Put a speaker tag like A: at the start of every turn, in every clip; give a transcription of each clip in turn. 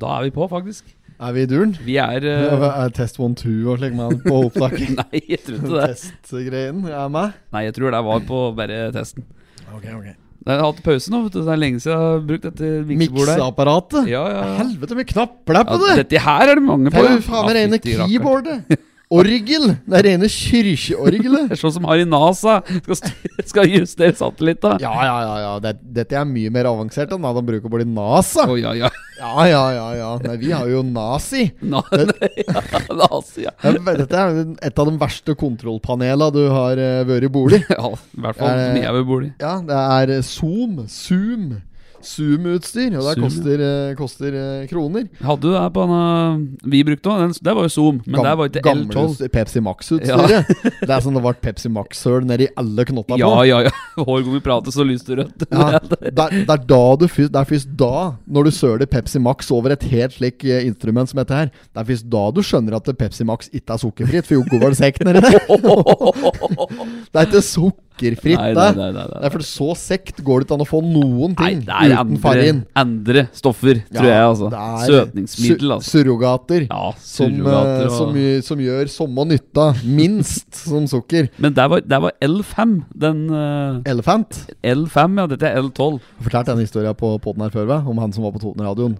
A: Da er vi på, faktisk.
B: Er vi i duren?
A: Vi er
B: Ja,
A: eh,
B: hva er test 1-2 og slik man på opptaket?
A: Nei, jeg tror ikke det.
B: Testgreien er meg?
A: Nei, jeg tror det var på bare testen.
B: Ok, ok
A: Jeg har hatt pause nå, vet du. så Det er lenge siden jeg har brukt dette miksebordet. her.
B: Mikseapparatet?
A: Ja, ja. ja.
B: Helvete, mye knapper det er på det!
A: dette her er det mange
B: Det
A: på.
B: er
A: ja.
B: jo faen det
A: Ja,
B: rene
A: fytti rakkeren.
B: keyboardet! Orgel! Det er rene kirkeorgelet!
A: Det er sånn som har i NASA. Skal, styr- skal justere satellitter.
B: Ja, ja, ja, ja. Det, dette er mye mer avansert enn hva de bruker på de NASA.
A: Å, ja, ja.
B: Ja, ja, ja, ja. Nei, vi har jo Nazi.
A: Na, nei, ja. NASA, ja.
B: Jeg vet- Dette er et av de verste kontrollpanelene du har eh, vært i bolig.
A: ja. I hvert fall
B: Eh,
A: som jeg vil bo i.
B: Ja, det er eh, Zoom, Zoom, Zoom-utstyr, og det
A: Zoom, ja.
B: koster, eh, koster eh, kroner.
A: Hadde du det her på den vi brukte nå? Den- Det var jo Zoom, men
B: Gam-
A: der var ikke
B: gamle
A: L12.
B: utstyr- Pepsi Max-utstyret. det er sånn det ble Pepsi Max-søl nedi alle knotta
A: Ja,
B: på.
A: ja, ja. Hver gang vi prater, så lyser det rødt.
B: Ja, det, er, det er da du fyrst, Det er først da, når du søler Pepsi Max over et helt slik eh, instrument som dette her, det er først da du skjønner at Pepsi Max ikke er sukkerfritt, for Joko var det sekk nedi der. Det er ikke sukkerfritt,
A: Nei,
B: det.
A: nei, nei, nei, nei.
B: Det er for så sekt går det ikke an å få noen
A: Nei,
B: ting
A: det er
B: uten
A: andre,
B: farin.
A: andre stoffer, tror
B: Ja,
A: jeg, altså.
B: det er
A: Søtningsmiddel,
B: su-
A: altså.
B: Surrogater.
A: Ja,
B: Som,
A: surrogater
B: eh, som,
A: og
B: gj- som gjør samme nytta, minst, som sukker.
A: Men der var, der var L5. Den eh,
B: Elefant.
A: L5, ja. Dette er L12.
B: Jeg har fortalt denne historien på podden her før, hva? om han som var på Toten-radioen.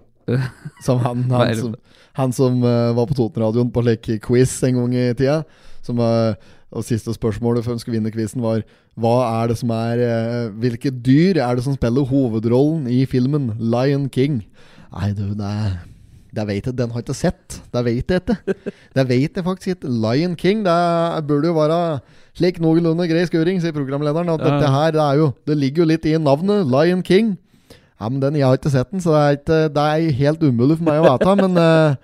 B: Som han,
A: Hva er
B: han
A: det?
B: som, han som eh, var på Toten-radioen på slik quiz en gang i tida. Som var, og Siste spørsmålet før han skulle vinne quizen, var Hva er det som er eh, Hvilke dyr er det som spiller hovedrollen i filmen Lion King? Nei, du, det er det vet jeg, Den har jeg ikke sett. Det vet jeg ikke. Det vet jeg faktisk ikke. Lion King, det burde jo være slik noenlunde grei skuring, sier programlederen. At
A: Ja.
B: dette her, det, er jo, det ligger jo litt i navnet. Lion King. Ja, men den, Jeg har ikke sett den, så det er, ikke, det er helt umulig for meg å vite. Men eh,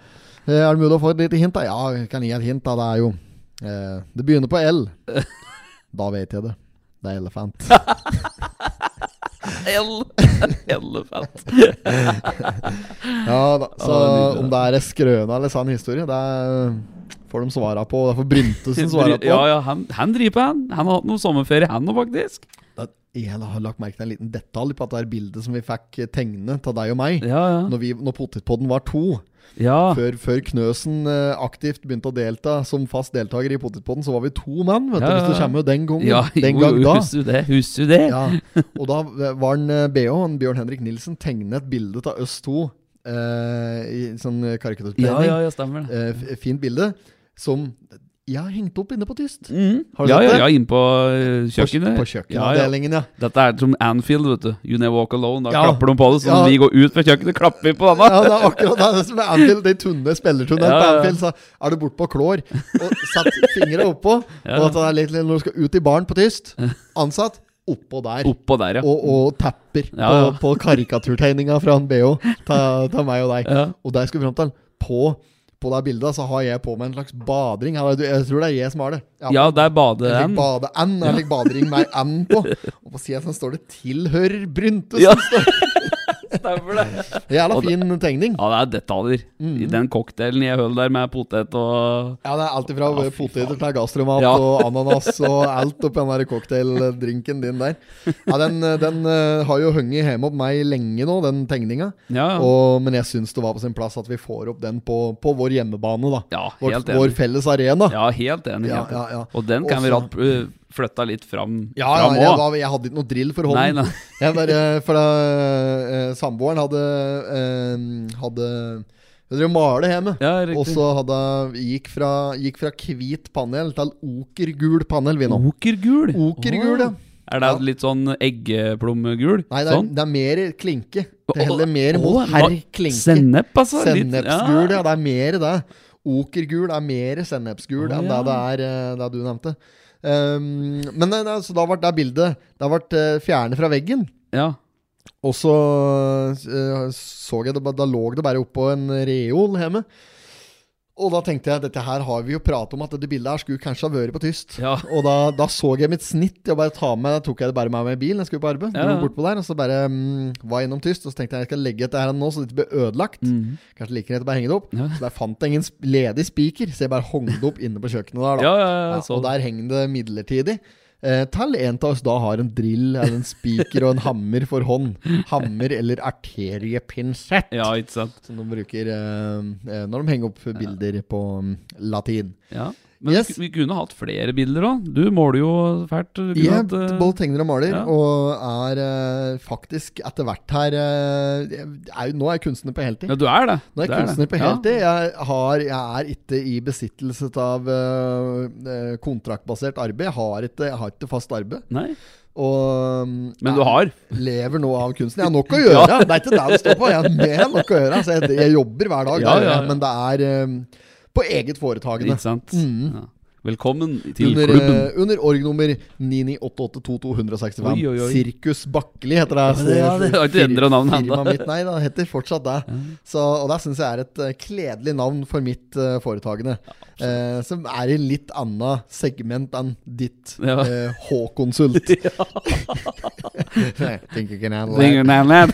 B: er det mulig å få et lite hint? da? Ja, jeg kan gi et hint. da, Det er jo eh, Det begynner på L. Da vet jeg det. Det er elefant.
A: L Elefant.
B: Ja, da,
A: Ja, det
B: så
A: er nydelig.
B: om det er en skrøne eller sann historie, det er, får de svara på. Det får Bryntesen svara på.
A: Ja, ja, han, han driver på, han. Han har hatt noe sommerferie, han nå, faktisk.
B: Da- Jeg har lagt merke til en liten detalj på at det er bildet som vi fikk tegne av deg og meg.
A: Ja, ja.
B: Når, vi, når potetpodden var to,
A: ja.
B: før, før Knøsen eh, aktivt begynte å delta som fast deltaker i potetpodden, så var vi to mann, vet du,
A: Ja, ja,
B: hvis du
A: ja.
B: kommer jo den gangen.
A: Ja,
B: den
A: jo,
B: gang
A: jo,
B: da.
A: husker du det? Husker du det?
B: Ja, og da var eh, en BH, en Bjørn Henrik Nilsen, tegnet et bilde av oss to eh, i sånn karikaturtegning.
A: ja, ja, ja stemmer det.
B: Eh, f- fint bilde, som jeg har hengt opp inne på tyst.
A: Mm.
B: Har du
A: ja,
B: sett
A: ja,
B: det?
A: ja, inn på eh, kjøkkenet. Ja,
B: På
A: ja.
B: kjøkkenavdelingen, ja.
A: Dette er som Anfield, vet du. You never walk alone. Da
B: Ja.
A: klapper de på det. Så når
B: Ja.
A: vi går ut fra kjøkkenet, klapper vi på denne.
B: Ja, det er akkurat det er det som er Anfield. De tunne spillertunnene
A: Ja,
B: på
A: ja.
B: Anfield, så er du bortpå klår og satt fingre oppå.
A: Ja.
B: Og at det er litt, litt når du skal ut i baren på tyst, ansatt oppå der.
A: Oppå der, ja.
B: Og, og tapper
A: Ja, ja.
B: på, på karikaturtegninga fra han BH ta, ta meg og deg.
A: ja.
B: Og der skal vi fram til på, på det bildet så har jeg på meg en slags badring. Jeg jeg tror det er jeg som har det. Ja,
A: Ja, der
B: Jeg
A: bader
B: fikk
A: han.
B: bade-N, jeg fikk badering med ei N på. Og på sida står det 'Tilhører Bryntesen'.
A: Ja. Stemmer det.
B: Jævla
A: Og det-
B: fin tegning.
A: Ja, det er detaljer.
B: Mm.
A: I den cocktailen jeg høl der med potet og
B: Ja, det er alt ifra
A: Ja, fy
B: poteter til gastromat
A: Ja.
B: og ananas og alt oppi den der cocktaildrinken din der. Ja, Den, eh, den eh, har jo hengt hjemme opp meg lenge nå, den tegninga.
A: Ja, ja.
B: Og- Men jeg syns det var på sin plass at vi får opp den på, på vår hjemmebane, da.
A: ja
B: Vår,
A: helt
B: vår
A: enig.
B: felles arena.
A: Ja, helt enig.
B: Ja,
A: Helt enig.
B: ja, ja.
A: Og den kan vi
B: Også-
A: rad øh, flytta litt fram
B: Ja, ja,
A: fram
B: jeg,
A: også.
B: var- jeg hadde ikke noe drill for
A: Nei,
B: hånden.
A: nei.
B: Jeg bare, for da, eh, Samboeren hadde eh, Hadde Hun drev og malte hjemme.
A: Ja,
B: Og
A: riktig.
B: så hadde, gikk, fra, gikk fra hvit panel til okergul panel
A: Mhm.
B: vi nå.
A: Okergul.
B: Okergul, ja.
A: Åh. Er det
B: Ja.
A: litt sånn eggeplommegul?
B: Nei, det er,
A: sånn?
B: det er mer klinke. Det
A: Åh,
B: heller mer mot
A: åh,
B: herr
A: la-
B: klinke.
A: Sennep, altså? litt-
B: Sennepsgul, ja. Det er mer det. Okergul er mer sennepsgul
A: Å,
B: enn det
A: ja.
B: det er eh, det du nevnte. Um, men nei, nei, så da ble det bildet Da ble det fjernet fra veggen.
A: Ja.
B: Og så eh, så jeg det, ba- da lå det bare oppå en reol hjemme. Og da tenkte jeg dette her har vi jo pratet om, at dette bildet her skulle kanskje ha vært på tyst.
A: Ja.
B: Og da, da så jeg mitt snitt. Jeg bare tar med, da tok jeg det bare med meg i bilen. Jeg skulle på arbeid.
A: Ja, ja.
B: Dro bortpå der, og så bare mm, var jeg innom tyst. Og så tenkte jeg jeg skal legge dette her nå, så det ikke blir ødelagt.
A: Mhm.
B: Kanskje like greit å bare henge det opp.
A: Ja.
B: Så der fant jeg ingen sp- ledig spiker, så jeg bare hong det opp inne på kjøkkenet der.
A: ja, sånn.
B: da.
A: ja, ja,
B: Ja,
A: så.
B: og der henger det midlertidig. eh, til en av oss da har en drill eller en spiker og en hammer for hånd. Hammer eller arteriepinsett,
A: Ja, ikke sant?
B: som de bruker eh, eh, når de henger opp bilder på mm, latin.
A: Ja. Men
B: Yes.
A: vi kunne hatt flere bilder òg. Du måler jo fælt. Du kunne
B: Jeg
A: hatt, eh,
B: både tegner og maler,
A: ja.
B: og er eh, faktisk etter hvert her eh, jeg er, jo- Nå er jeg kunstner på heltid.
A: ja, du er det.
B: Nå er
A: Du
B: jeg kunstner
A: det.
B: på heltid. Jeg, har, jeg er ikke i besittelse av eh, eh, kontraktbasert arbeid. Jeg har ikke, jeg har ikke fast arbeid.
A: Ja. Nei,
B: Og, mm,
A: men du har.
B: lever nå av kunsten. Jeg har nok å gjøre. Det er ikke det det står på. Jeg har mer enn nok å gjøre. Så jeg, jeg jobber hver
A: Ja,
B: dag, det gjør
A: ja,
B: jeg,
A: ja.
B: men det er eh, på eget foretagende.
A: Ikke sant?
B: Mm.
A: Ja. Velkommen til
B: Under,
A: klubben.
B: eh, under org-nummer 99882265.
A: Oi, oi, oi.
B: Sirkus Bakkeli heter det.
A: Ja, det har ikke
B: Fir-
A: endret navnet enda.
B: firmaet mitt. Nei, det heter fortsatt det. Så, og det syns jeg er et eh, kledelig navn for mitt eh, foretagende. eh, som er i litt annet segment enn ditt
A: Ja.
B: eh, H-konsult. Nei, tenker ikke jeg handler.
A: Ringer ned, ned.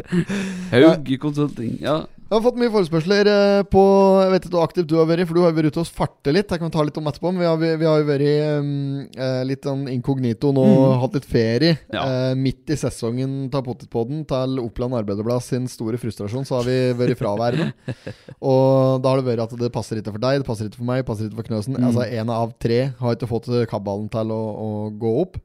A: Haug Consulting. Ja.
B: Jeg har fått mye forespørsler eh, på Jeg vet ikke hvor aktiv du har vært, for du har vært ute og svarte litt. Det kan vi ta litt om etterpå, men vi har, vi, vi har jo vært mm, eh, litt sånn inkognito nå, hatt litt ferie.
A: Mm. Ja.
B: Eh, midt i sesongen av Potetpodden til Oppland Arbeiderblad sin store frustrasjon, så har vi vært fraværende. og da har det vært at det passer ikke for deg, det passer ikke for meg, det passer ikke for Knøsen.
A: Mm.
B: Altså én av tre har ikke fått kabalen til å, å gå opp.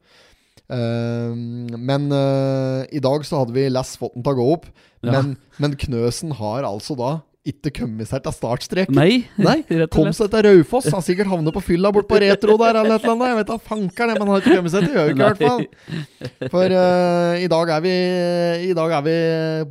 B: Eh, men eh, i dag så hadde vi Les Fotten til å gå opp.
A: Ja.
B: Men, men Knøsen har altså da ikke kommet seg til startstreken.
A: Nei,
B: Nei,
A: rett og
B: Kom
A: slett.
B: seg til Raufoss. Han sikkert havnet på fylla bort på Retro der eller et eller annet. Jeg vet da fanker det, men han har ikke kommet seg til Gjøvik i hvert fall. For eh, i dag er vi I dag er vi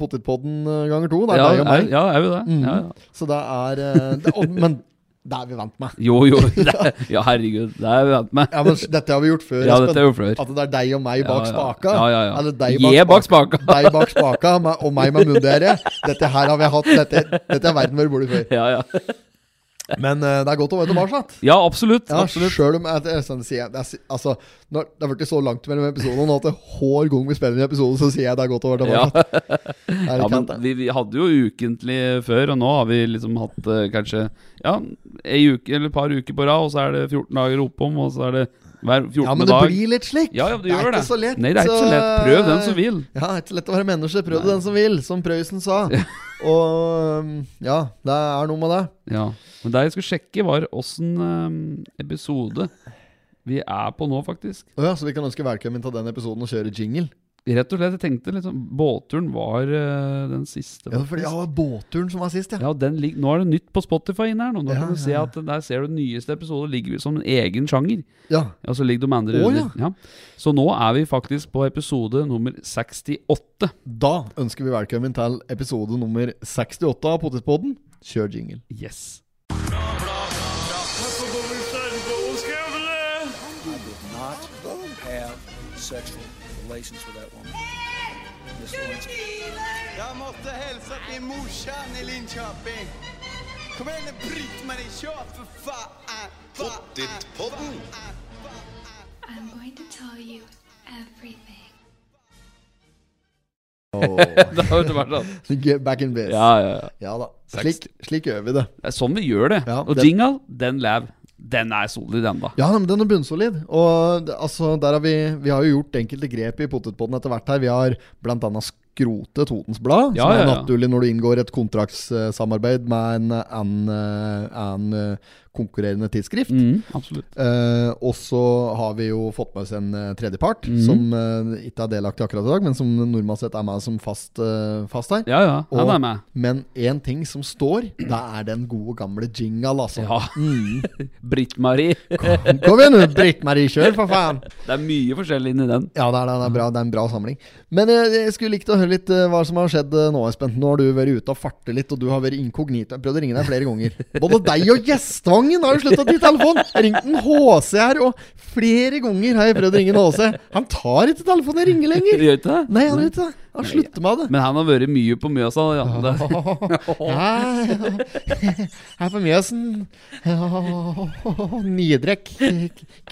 B: Potetpodden eh, ganger to. Det er
A: Ja,
B: deg og
A: er,
B: meg.
A: ja, er vi det?
B: Mm.
A: Ja, ja.
B: Så det er eh, det, og, Men det er vi vant med.
A: Jo, jo. Det, ja, herregud. Det er vi vant med.
B: Ja, men dette har vi gjort før,
A: Ja,
B: Espen.
A: dette er jo flør.
B: At det er deg og meg
A: Ja,
B: bak
A: ja.
B: spaka.
A: Ja, ja, ja.
B: Eller deg
A: Jeg
B: bak
A: bak
B: spaka.
A: spaka.
B: Deg bak spaka meg- og meg med munndiaré. Dette her har vi hatt. Dette, dette er verden vår burde før.
A: Ja, ja.
B: Men eh, det er godt å være tilbake. sant?
A: ja, absolutt.
B: Ja,
A: absolutt.
B: selv om jeg, det er sånn å si, jeg, det, er, si- altså, når, det har blitt så langt mellom episodene nå at det hver gang vi spiller en episode, så sier jeg det er godt å være
A: Ja.
B: tilbake. Er
A: Ja,
B: det
A: men
B: kjent, det?
A: vi, vi hadde jo ukentlig før, og nå har vi liksom hatt eh, kanskje ja, ei uke eller et par uker på rad, og så er det 14 dager oppom, og så er det hver 14.
B: ja, men det
A: dag.
B: blir litt slik.
A: Ja, ja, det
B: er
A: gjør
B: ikke
A: det.
B: så eh, lett.
A: Nei, det er ikke så lett. Prøv den som vil.
B: Ja, det er ikke så lett å være menneske. Prøv det den som vil, som Prøysen sa. Og um, ja, det er noe med det.
A: Ja. Men det jeg skulle sjekke, var åssen eh, episode vi er på nå, faktisk.
B: Å ja, så vi kan ønske velkommen til den episoden og kjøre jingle.
A: Rett og slett, jeg tenkte liksom Båtturen var eh, den siste.
B: Ja, for det
A: faktisk.
B: var båtturen som var sist, ja.
A: Ja, den lig Nå er det nytt på Spotify inne her. Nå, nå
B: Ja,
A: kan du
B: ja,
A: se
B: ja.
A: at Der ser du den nyeste episoden ligger som en egen sjanger.
B: Ja,
A: Ja, så ligger de andre
B: Å,
A: under. Ja. Så nå er vi faktisk på episode nummer 68.
B: Da ønsker vi velkommen til episode nummer 68 av Potetpodden. Kjør jingle.
A: Yes.
C: You did not have sexual relations with that woman. Miss Lewinsky.
D: Jeg måtte hilse til morsan i Linköping. Kom igjen, Britt-Marie, kjør for faen! Pottitpodden!
E: I'm going to tell you everything.
A: Det har jo vært sånn.
B: Get back in biz.
A: Ja, ja, ja.
B: Ja da. Slik, slik gjør vi det.
A: Det er sånn vi gjør det.
B: Ja,
A: og
B: den-
A: jingle, den lav. Den er solid ennå.
B: Ja, men den er bunnsolid. Og det- altså, der har vi, vi har jo gjort enkelte grep i Potetpodden etter hvert her. Vi har bl.a. skrotet Totens Blad,
A: Ja,
B: som
A: ja,
B: er
A: ja.
B: naturlig når du inngår et kontraktssamarbeid med en, en, eh, en eh, konkurrerende tidsskrift.
A: Mm, absolutt.
B: Eh, og så har vi jo fått med oss en eh, tredjepart,
A: Mhm.
B: som eh, ikke er delaktig akkurat i dag, men som normalt sett er med som fast, eh, fast her.
A: Ja, ja. Han
B: Og-
A: er med.
B: Men én ting som står, det er den gode gamle jingle, altså.
A: Ja.
B: Mm.
A: Britt-Marie.
B: Kom igjen, nå, Britt-Marie, kjør, for faen!
A: Det er mye forskjellig inni den.
B: Ja, det er, det, det, er bra, det er en bra samling. Men eh, jeg skulle likt å høre litt eh, hva som har skjedd eh, nå, Espen. Nå har du vært ute og fartet litt, og du har vært inkognito. Jeg prøvde å ringe deg flere ganger. Både deg og Gjestvangen har jo slutta å ta telefonen! Jeg ringte en HC her, og flere ganger har jeg prøvd å ringe en HC. Han tar ikke telefonen jeg ringer lenger!
A: Gjør ikke det?
B: Nei, han gjør ikke det. Han slutter med det.
A: Men han har vært mye på Mjøsa. Ja. Det,
B: Ja, ja. Her på Mjøsen Nidrekk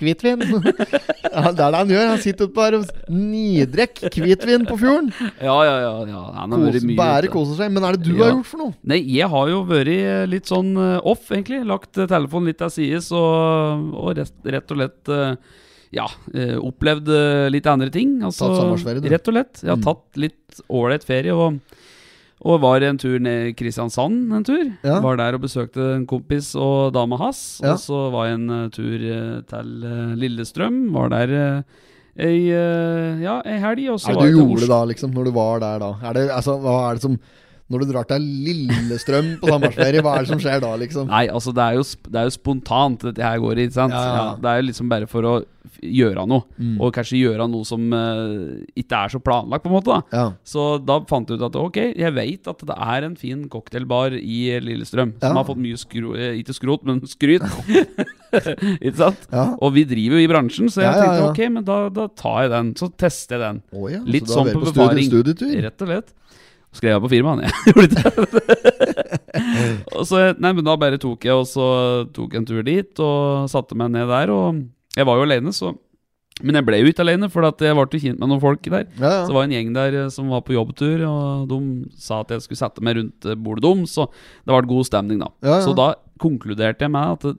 B: hvitvin. Ja, det er det han gjør. Han sitter oppe her og nidrekk hvitvin på fjorden.
A: ja, ja, ja, ja. Han har
B: Kose,
A: vært mye
B: bare
A: ute.
B: koser seg. Men er det du
A: Ja.
B: har gjort for noe?
A: Nei, jeg har jo vært eh, litt sånn eh, off, egentlig. Lagt eh, telefonen litt til sides og, og rett, rett og slett eh, ja, eh, opplevd eh, litt andre ting. Altså,
B: Tatt sommerferie, du.
A: Rett og lett. Jeg har
B: Mm.
A: tatt litt ålreit ferie. Og, og var en tur ned i Kristiansand en tur.
B: Ja.
A: Var der og besøkte en kompis og dama hans.
B: Ja.
A: Og så var jeg en eh, tur eh, til eh, Lillestrøm. Var der eh, ei, eh, ja, ei helg. Og så
B: Hva er
A: var
B: det
A: jeg til
B: du gjorde
A: Oslo.
B: da, liksom, når du var der da? Er det, altså, hva er det som Når du drar til Lillestrøm på sommerferie, hva er det som skjer da, liksom?
A: Nei, altså det er, jo, sp- det er jo spontant dette her går i, ikke sant?
B: Ja, Mm. ja, ja.
A: det er jo liksom bare for å f- gjøre noe. Og kanskje gjøre noe som eh, ikke er så planlagt, på en måte. da
B: Ja.
A: Så da fant jeg ut at ok, jeg vet at det er en fin cocktailbar i Lillestrøm. Som
B: Ja.
A: har fått mye skro... eh, Ikke skrot, men skryt. ikke sant?
B: Ja.
A: Og vi driver jo i bransjen, så jeg
B: Ja, ja,
A: tenkte
B: ja.
A: ok, men da, da tar jeg den. Så tester jeg den.
B: Å ja, så
A: Litt
B: du har
A: sånn
B: vært
A: på
B: studie-
A: befaring.
B: Studietur?
A: Rett og slett. Skrev jeg på firmaet, jeg gjorde ikke det. og så, nei, men da bare tok jeg og så tok jeg en tur dit og satte meg ned der. Og jeg var jo alene, så Men jeg ble jo ikke alene, for at jeg ble jo kjent med noen folk der.
B: Ja,
A: Så det
B: ja.
A: var en gjeng der eh, som var på jobbtur, og de sa at jeg skulle sette meg rundt eh, bordet deres. Så det var god stemning, da.
B: Ja, ja.
A: Så da konkluderte jeg med at eh,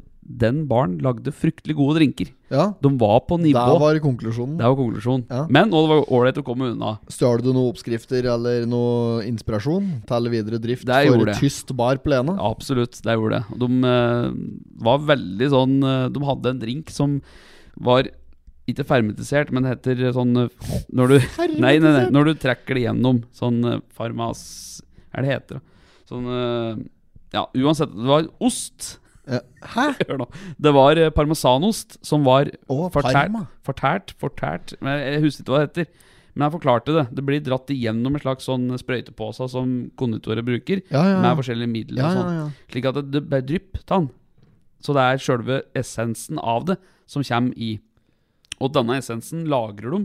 A: den baren lagde fryktelig gode drinker.
B: ja.
A: De var på nivå.
B: Der var konklusjonen.
A: Det var konklusjonen.
B: Ja.
A: Men og det var ålreit å komme unna.
B: Stjal du noen oppskrifter eller noe inspirasjon til videre drift
A: Det
B: for
A: gjorde jeg.
B: tyst bar på Lena?
A: Ja, Absolutt, det gjorde det. Og De eh, var veldig sånn eh, De hadde en drink som var ikke fermentisert, men heter sånn eh, når du, nei, nei, nei, når du trekker det gjennom. Sånn eh, farmas... Hva er det heter? da? Sånn eh, Ja, uansett. Det var ost.
B: Ja. Hæ?
A: Hør nå. Det var eh, parmesanost som var
B: Å,
A: fortært,
B: parma.
A: fortært, fortært men Jeg jeg husker ikke hva det heter. Men jeg forklarte det. Det blir dratt igjennom en slags sånn sprøytepose som konditorer bruker,
B: Ja, ja, ja.
A: med forskjellige midler
B: Ja,
A: og
B: ja,
A: sånn.
B: ja.
A: Slik at det, det bare drypp ta den. Så det er sjølve essensen av det som kommer i. Og denne essensen lagrer de,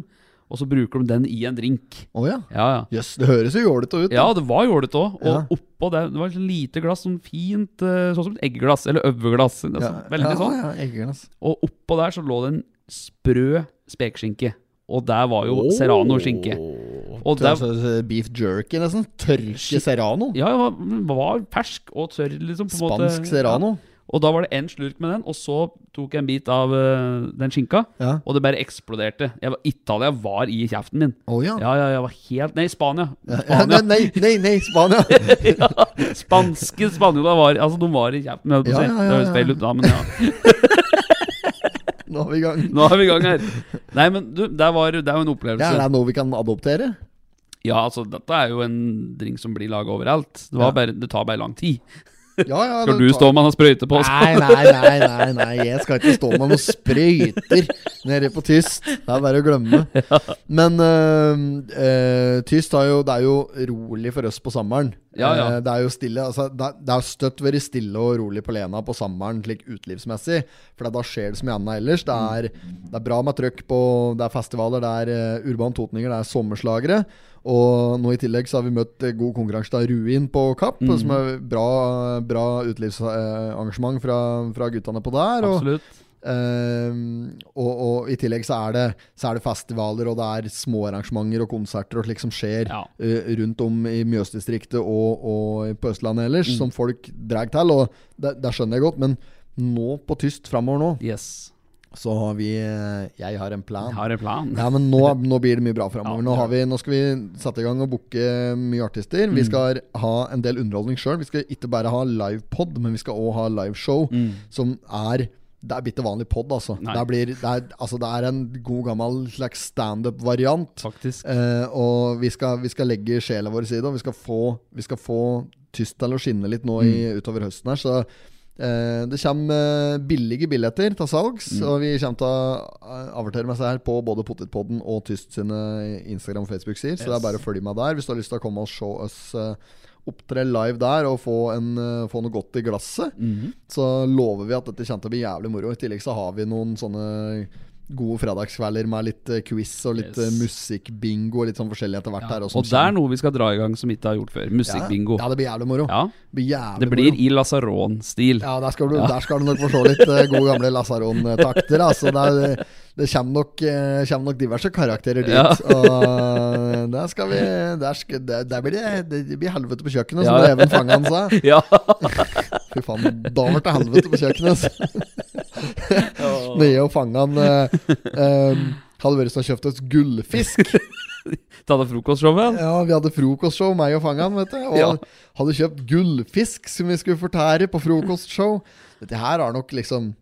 A: og så bruker de den i en drink.
B: Å ja.
A: Ja, ja.
B: Jøss, det høres jo jålete ut. da.
A: Ja, det var jålete òg. Og
B: Ja.
A: oppå det, det var et lite glass, sånn fint eh, Sånn som et eggeglass, eller øveglass. Altså, Veldig sånn.
B: Ja, ja, eggene, ass.
A: Og oppå der så lå det en sprø spekeskinke. Og der var jo serrano-skinke. Og
B: Det
A: der
B: er altså beef jerky, nesten. Tørke serrano.
A: ja, ja, den var fersk og tørr, liksom. På en måte.
B: Spansk serrano.
A: Ja. Og da var det en slurk med den, og så tok jeg en bit av eh, den skinka,
B: Ja.
A: og det bare eksploderte. Jeg var, Italia var i kjeften min.
B: Å ja.
A: Ja, ja, jeg var helt Nei, Spania.
B: Ja, nei,
A: Spania.
B: nei, nei, nei, Spania!
A: Spanske spanjoler var Altså, de var i kjeften. Ja,
B: Ja,
A: ja,
B: ja, ja,
A: Det høres
B: ja.
A: feil ut da, men ja.
B: Nå er vi i gang.
A: Nå er vi i gang her. Nei, men du, det, var, det er jo en
B: Ja, er
A: opplevelse.
B: det noe vi kan adoptere?
A: Ja, altså, dette er jo en drink som blir laga overalt. Det, var
B: Ja.
A: bare, det tar bare lang tid.
B: Ja, ja,
A: Skal
B: det
A: du
B: tar-
A: stå med han og sprøyte på? så-
B: Nei, nei, nei, nei, nei, jeg skal ikke stå med noen sprøyter nede på Tyst. Det er bare å glemme. Men øh, øh, Tyst har jo, det er jo rolig for oss på sommeren.
A: Ja, ja.
B: Eh, Det er jo stille, altså, det, er- det er støtt vært stille og rolig på Lena på sommeren, slik utelivsmessig. For da skjer det så mye annet ellers. Det er, det er bra med trøkk på Det er festivaler, det er eh, urban totninger, det er sommerslagere. Og nå i tillegg så har vi møtt eh, god konkurranse av Ruin på Kapp, som er bra, bra utelivsarrangement fra, fra guttene på der. Og,
A: Absolutt.
B: Ehm, og, og i tillegg så er, det, så er det festivaler og det er småarrangementer og konserter og slik som skjer
A: Ja.
B: eh, rundt om i Mjøsdistriktet og, og på Østlandet ellers,
A: Mm.
B: som folk drar til. Og det, det skjønner jeg godt, men nå på tyst framover nå,
A: Yes.
B: så har vi eh, Jeg har en plan.
A: Jeg har en plan.
B: Ja, men nå, nå blir det mye bra framover.
A: Ja,
B: Nå,
A: det
B: har vi- nå skal vi sette i gang og booke mye artister.
A: Mm.
B: Vi skal ha en del underholdning sjøl. Vi skal ikke bare ha livepod, men vi skal òg ha liveshow, som er det er bitte vanlig pod, altså.
A: Mm. Nei.
B: Det, blir, det, er, altså. det er en god gammel slags standup-variant.
A: Faktisk.
B: Eh, og vi skal, vi skal legge sjela vår i side, og vi skal få, vi skal få tyst til å skinne litt nå i, utover høsten her. Så eh, det kommer eh, billige billetter til salgs, og vi kommer til å eh, avertere med seg her på både Potetpodden og Tyst sine Instagram- og Facebook-sider. Så det er bare å følge med der hvis du har lyst til å komme og se oss. eh, Opptre live der og få, en, eh, få noe godt i glasset. Så lover vi at dette kommer til å bli jævlig moro. I tillegg så har vi noen sånne gode fredagskvelder med litt eh, quiz og litt
A: Yes.
B: yes. musikkbingo og litt sånn forskjellig etter hvert.
A: Ja.
B: her også, sånn.
A: Og det er noe vi skal dra i gang som ikke har gjort før. Musikkbingo.
B: Ja, ja, det blir jævlig moro.
A: Ja,
B: Det blir jævlig
A: det blir
B: moro.
A: i lasaron-stil.
B: Ja, der skal, du, der skal du nok få se litt eh, gode gamle lasaron-takter. Altså, det, er- det kommer nok, eh, kommer nok diverse karakterer dit.
A: Ja.
B: Og eh, der skal vi Der, skal, der, der blir det, det blir helvete på kjøkkenet,
A: Ja.
B: som det Even Fangan sa.
A: Ja.
B: Fy faen, da ble det helvete på kjøkkenet. altså. Det er jo fanget han eh, eh, Hadde vært som å kjøpt et gullfisk.
A: Ta deg frokostshowet.
B: Ja, Vi hadde frokostshow, meg og fanget han, vet du. Og
A: Ja.
B: hadde kjøpt gullfisk som vi skulle fortære på frokostshow. Dette her har nok liksom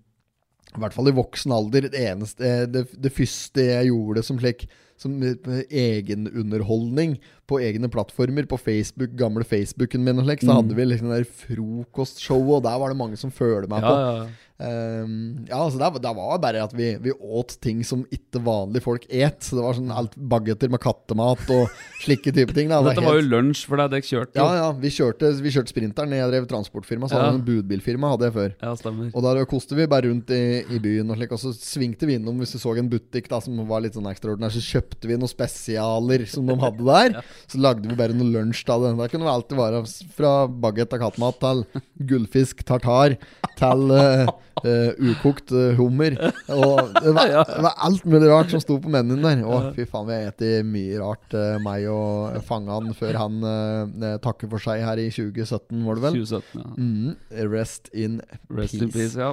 B: I hvert fall i voksen alder det eneste Det, det første jeg gjorde som slik som eh, egenunderholdning på egne plattformer, på Facebook, gamle Facebooken min og slik, så
A: Mm.
B: hadde vi liksom det der frokostshowet, og der var det mange som følte meg
A: Ja,
B: på.
A: ja, ja.
B: Ehm, ja, altså det, var- det var bare at vi, vi åt ting som ikke vanlige folk et. Så det var sånn alt bagetter med kattemat og slike type ting. Da. Det
A: Dette var jo
B: helt-
A: lunsj for deg, dere kjørte jo.
B: ja, ja, vi kjørte, vi kjørte sprinteren. Jeg drev transportfirma, så hadde
A: Ja.
B: jeg en budbilfirma hadde jeg før.
A: Ja, stemmer.
B: Og der koste vi bare rundt i, i byen, og, slik, og så svingte vi innom hvis vi så en butikk da, som var litt sånn ekstraordinær. Så kjøpte vi noen spesialer som de hadde der. Så lagde vi bare noe lunsj av det. Da kunne det alltid være s- fra bagett av kattemat til gullfisk tartar til eh, eh, ukokt eh, hummer. Og det var, det var alt mulig rart som sto på menyen der. Å, fy faen, vi har spist mye rart, eh, meg og fangan, før han eh, takker for seg her i 2017, var det vel?
A: 2017, ja.
B: Mm, rest in
A: Rest
B: peace. Oh,
A: in peace, ja.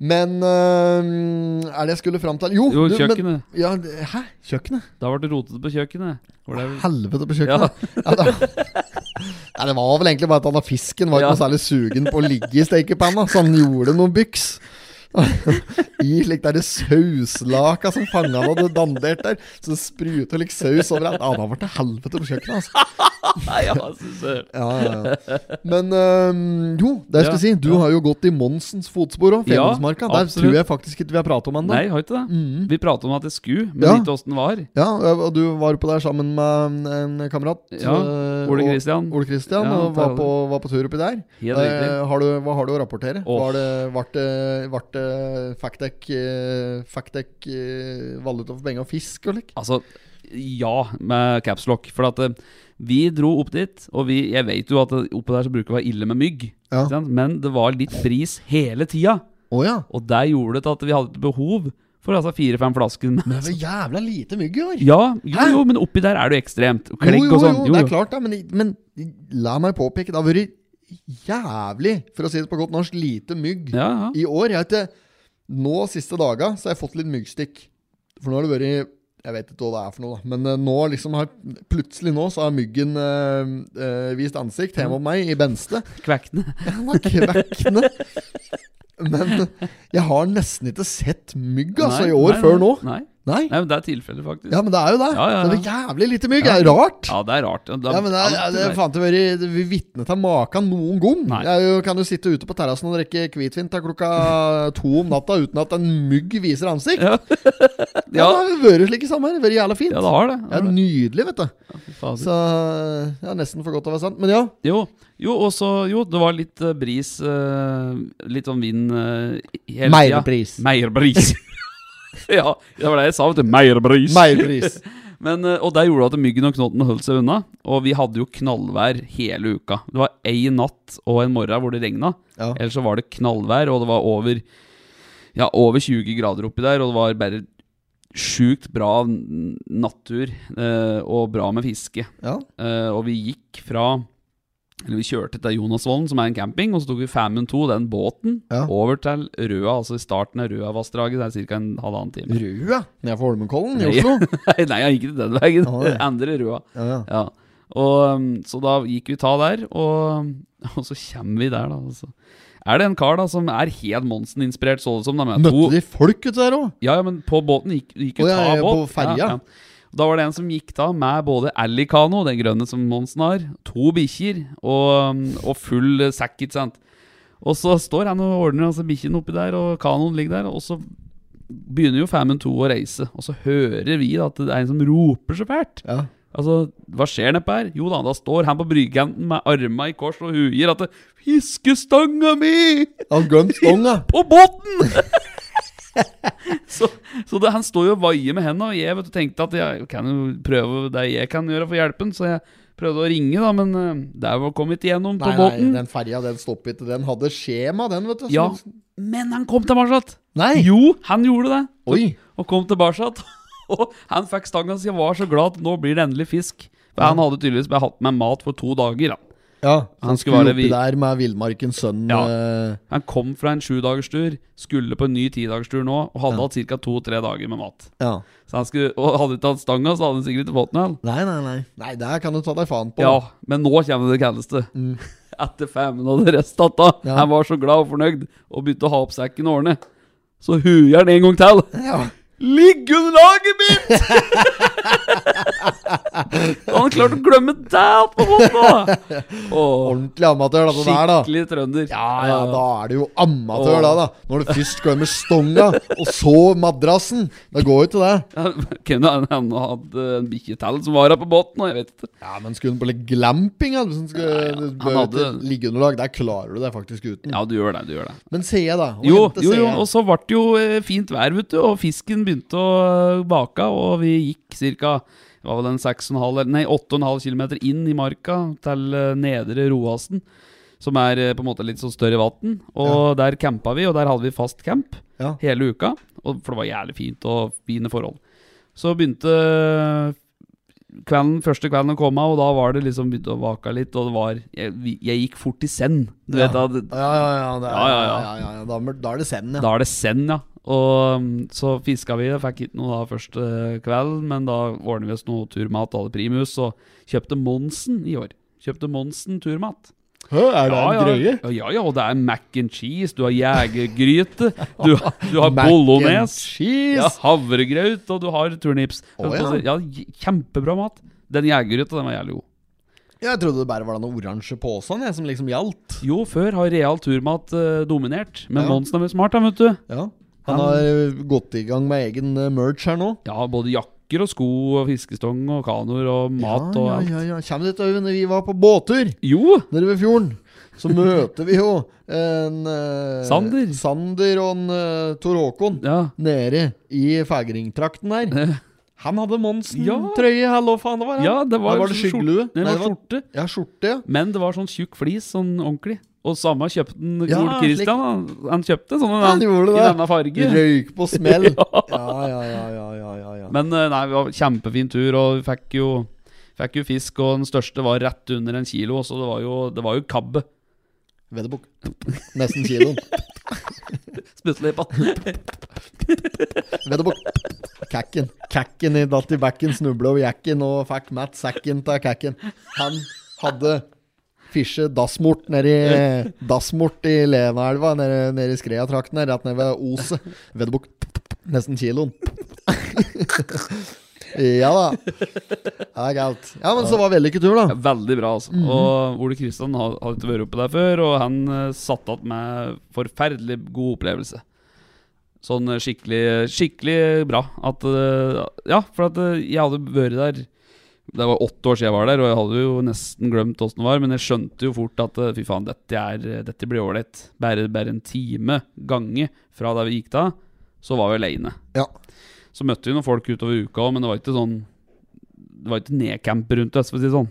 B: Men øhm, er det jeg skulle fram til? Jo,
A: Jo,
B: du, men-
A: kjøkkenet.
B: ja, det- hæ? Kjøkkenet?
A: Det har vært rotete på kjøkkenet. Var det
B: Helvete på kjøkkenet. Ja. det, Nei, det var vel egentlig bare at han av fisken var ikke
A: Ja.
B: noe særlig sugen på å ligge i stekepanna, så han gjorde noen byks. I slik der sauslaka som fanga han hadde dandert der. Så det spruta litt saus overalt. Ja, da ble det helvete på kjøkkenet, altså.
A: Nei, ja, synes jeg.
B: Ja, ja, ja. Men øhm, jo, det jeg
A: Ja,
B: skulle si, du
A: ja.
B: har jo gått i Monsens fotspor òg,
A: Ja,
B: Femundsmarka. Der
A: absolutt.
B: tror jeg faktisk ikke vi har pratet om ennå.
A: Nei, har ikke det. Vi pratet om at jeg skulle, men
B: Ja.
A: ikke åssen den var.
B: Ja, og du var på der sammen med en en kamerat.
A: Ja,
B: eh,
A: Ole
B: og-
A: Christian.
B: Ole Christian,
A: Ja,
B: og var
A: Tarald.
B: på, var på tur oppi der.
A: Helt
B: Eh,
A: riktig.
B: har du, hva har du å rapportere?
A: Åh.
B: Var det, vart det, vart det Factec, eh, Factec eh, valuta for penger og fisk og lik?
A: Altså, ja, med capslock. For at eh, vi dro opp dit, og vi, jeg vet jo at det- oppe der så bruker det å være ille med mygg.
B: Ja.
A: ikke sant? Men det var litt bris hele tida,
B: Å ja.
A: og det gjorde det til at vi hadde et behov for altså fire-fem flasker. med-
B: Men det var jævla lite mygg i år.
A: Ja, jo,
B: Hæ?
A: jo, men oppi der er det jo ekstremt. og
B: Jo,
A: Klegg
B: jo,
A: og sånn.
B: jo, det er klart det, men, men la meg påpeke, det har vært jævlig, for å si det på godt norsk, lite mygg.
A: Ja, ja.
B: I år, jeg vet ikke Nå siste daga så har jeg fått litt myggstikk For nå har det vært Jeg vet ikke hva det er for noe da Men eh, nå liksom har Plutselig nå så har myggen eh, eh, Vist ansikt hjemme om meg i Benste
A: Kvekkene.
B: Den var kvekkende Men jeg har nesten ikke sett mygg altså
A: Nei,
B: i år
A: nei,
B: før nå
A: Nei.
B: Nei
A: nei, men det er tilfellet, faktisk.
B: Ja, men det er jo det
A: Ja, ja, ja.
B: Det er jævlig lite mygg
A: Ja.
B: Det er rart
A: Ja, det er rart. Det er
B: ja, men det, er-
A: alltid
B: det,
A: der.
B: fant jeg vært Vi vitnet til maka noen gang.
A: Nei.
B: Jeg er jo, kan jo sitte ute på terrassen og drikke hvitvin til klokka to om natta uten at en mygg viser ansikt.
A: Ja.
B: Ja,
A: ja.
B: Det har vært slik i sommer. Det har Vært jævla fint.
A: ja, det har det.
B: det
A: Ja,
B: er nydelig, vet du.
A: fy fader.
B: Så ja, Nesten for godt til å være sant. Men ja.
A: Jo, jo, og så- jo, det var litt eh, bris, eh, litt sånn vind uh, hele
B: Meierbris.
A: tida. Meierbris. ja, det var det jeg sa, vet du. Meierbris.
B: Meierpris.
A: Men, eh, og det gjorde at myggen og knotten holdt seg unna. Og vi hadde jo knallvær hele uka. Det var ei natt og en morgen hvor det regna.
B: Ja.
A: Ellers så var det knallvær, og det var over, ja, over 20 grader oppi der, og det var bare sjukt bra n- natur eh, og bra med fiske.
B: ja.
A: Eh, og vi gikk fra Eller vi kjørte til Jonasvollen, som er en camping, og så tok vi Famund 2, den båten,
B: Ja.
A: over til Røa, altså i starten av Røavassdraget. Det er ca. en halvannen time.
B: Røa nede for Holmenkollen i
A: Nei.
B: Oslo.
A: Nei, nei, jeg gikk ikke den veien.
B: Å, nei.
A: Endre Røa.
B: Ja, ja.
A: Ja. Og, um, så da gikk vi ta der, og, og så kommer vi der, da. og så Er det en kar da som er helt Monsen-inspirert, så det som? da, med to-
B: Møtte de folk ute der òg?
A: ja, ja, men på båten gikk, gikk jo
B: Å, ja,
A: ta
B: ja,
A: båt.
B: på ferja.
A: Da var det en som gikk da med både Alicano, den grønne som Monsen har, to bikkjer og, um, og full eh, sekk, ikke sant. Og så står han og ordner altså bikkjen oppi der, og kanoen ligger der, og så begynner jo Famund 2 å reise, og så hører vi da at det er en som roper så fælt.
B: Ja.
A: Altså, hva skjer nedpå her? Jo da, da står han på brygganten med arma i kors og huier at det, 'Fiskestanga mi!'
B: Han gømt stonga.
A: på båten! så så det, han står jo og vaier med hendene, og jeg vet, du, tenkte at jeg kan jo prøve det jeg kan gjøre for hjelpen, så jeg prøvde å ringe, da, men eh, der var kommet igjennom på
B: Nei, nei,
A: båten.
B: den ferja den stoppet ikke. Den hadde skjema, den, vet du.
A: ja, men han kom tilbake!
B: Nei.
A: Jo, han gjorde det,
B: Oi.
A: og kom tilbake. Og han fikk stanga si og var så glad at nå blir det endelig fisk. For han hadde tydeligvis bare hatt med mat for to dager. Da.
B: Ja,
A: Han
B: han
A: skulle
B: skulle
A: være
B: oppi
A: vi-
B: der med Villmarkens sønn.
A: Ja.
B: eh,
A: Han kom fra en sjudagerstur, skulle på en ny tidagerstur nå, og hadde
B: Ja.
A: hatt ca. to-tre dager med mat.
B: ja.
A: Så han skulle, og hadde ikke hatt stanga, så hadde han sikkert ikke fått den. han.
B: Nei, nei, nei. Nei, Der kan du ta deg faen på.
A: Ja, men nå kommer det kaldeste. Etter femmen og det resten av det.
B: Mm. Ja.
A: Han var så glad og fornøyd, og begynte å ha opp sekken og ordne. Så huer han en gang til.
B: Ja.
A: Ligg under laget mitt! han klarte å glemme det på måten! da. Åh,
B: Ordentlig amatør, da. Det der, da.
A: skikkelig trønder.
B: Ja, ja, da er du jo amatør,
A: Åh.
B: da, da. Når du først glemmer stonga, og så madrassen. Det går jo til det.
A: Ja, Kunne han han hadde en bikkje til som var her på båten, og jeg vet ikke.
B: Ja, men skulle hun på litt glamping? da? Hvis hun
A: Nei,
B: skulle,
A: ja,
B: du
A: han
B: bør jo til
A: hadde-
B: liggeunderlag. Der klarer du deg faktisk uten.
A: Ja, du gjør det, du gjør det.
B: Men sier jeg, da. og
A: Jo,
B: hente
A: jo, jo,
B: sier jeg.
A: og så ble det jo eh, fint vær, vet du, og fisken begynte å eh, bake, og vi gikk ca. Det var vel en 6,5 eller- nei, 8,5 km inn i marka til eh, Nedre Roasen, som er eh, på en måte litt sånn større vann. Og der campa vi, og der hadde vi fast camp
B: Ja.
A: hele uka, og, for det var jævlig fint og fine forhold. Så begynte kvelden, første kvelden å komme, og da var det liksom begynte å vake litt, og det var Jeg, vi- jeg gikk fort i send. Du vet, da,
B: Ja, ja, ja. Det er,
A: Ja, ja, ja.
B: ja, Da, mør- da er det send, ja.
A: da er det send, ja. Og um, så fiska vi, og fikk ikke noe da første kvelden, men da ordnet vi oss noe turmat alle primus, og kjøpte Monsen i år. Kjøpte Monsen turmat.
B: Hø, er det en drøye?
A: Ja, ja, ja, og det er mac and cheese, du har jegergryte, du, du har
B: Mac and
A: bolognese,
B: Cheese!
A: ja, havregrøt, og du har turnips.
B: Å, ja.
A: j- kjempebra mat. Den jegergryta, den var jævlig god.
B: Jeg trodde det bare var den oransje posen jeg, som liksom gjaldt.
A: Jo, før har real turmat eh, dominert, men
B: Ja.
A: Monsen er vel smart, da, vet du.
B: Ja. Han har ø, gått i gang med egen ø, merch her nå.
A: Ja, både jakker og sko og fiskestong og kanoer og mat og
B: ja,
A: alt.
B: ja, ja. Kjem dit, Øyvind, når vi var på båttur
A: Jo!
B: nede ved fjorden. Så møter vi jo en ø,
A: Sander.
B: Sander og en ø, Tor Håkon
A: Ja.
B: nede i Fægring-trakten der. Han hadde
A: Ja.
B: Monsen-trøye, ja. hallo faen, det var han.
A: ja, det var,
B: Nei, var det
A: skjort-
B: skyggelue?
A: Nei,
B: Nei,
A: det
B: det
A: var skjorte.
B: Ja, skjorte, ja.
A: Men det var sånn tjukk flis, sånn ordentlig. Og samme kjøpte den
B: Ja,
A: Ole
B: slik.
A: Kristian. Han, han kjøpte sånn en
B: Han
A: annen-
B: gjorde
A: i
B: det.
A: denne farge.
B: Røyk på smell. ja, ja, ja, ja, ja, ja, ja.
A: Men eh, nei, det var kjempefin tur, og vi fikk jo, fikk jo fisk, og den største var rett under en kilo, så det var jo, det var jo kabbe.
B: Vedderbukk. Nesten kiloen.
A: Spyttelipa.
B: Vedderbukk. Kakken. Kakken i datt i bekken, snubla over jakken og fikk matt sekken til kakken. Han hadde fisje dassmort nedi Dassmort i Lenaelva, nedi, nedi Skreia-trakten her, rett nede ved Oset. Vedderbukk. Nesten kiloen. ja da. Det er galt. Ja, men så var vellykket tur, da. Mhm.
A: Veldig bra, altså. Og Ole Kristian har, har ikke vært oppe der før, og han eh, satt igjen med forferdelig god opplevelse. Sånn eh, skikkelig, skikkelig bra. At eh, Ja, for at eh, jeg hadde vært der Det var åtte år siden jeg var der, og jeg hadde jo nesten glemt åssen det var, men jeg skjønte jo fort at eh, fy faen, dette, er, dette blir ålreit. Bare, bare en time gange fra der vi gikk da, så var vi aleine.
B: Ja.
A: Så møtte vi noen folk utover uka òg, men det var ikke sånn Det var ikke nedcamp rundt oss, for å si det sånn.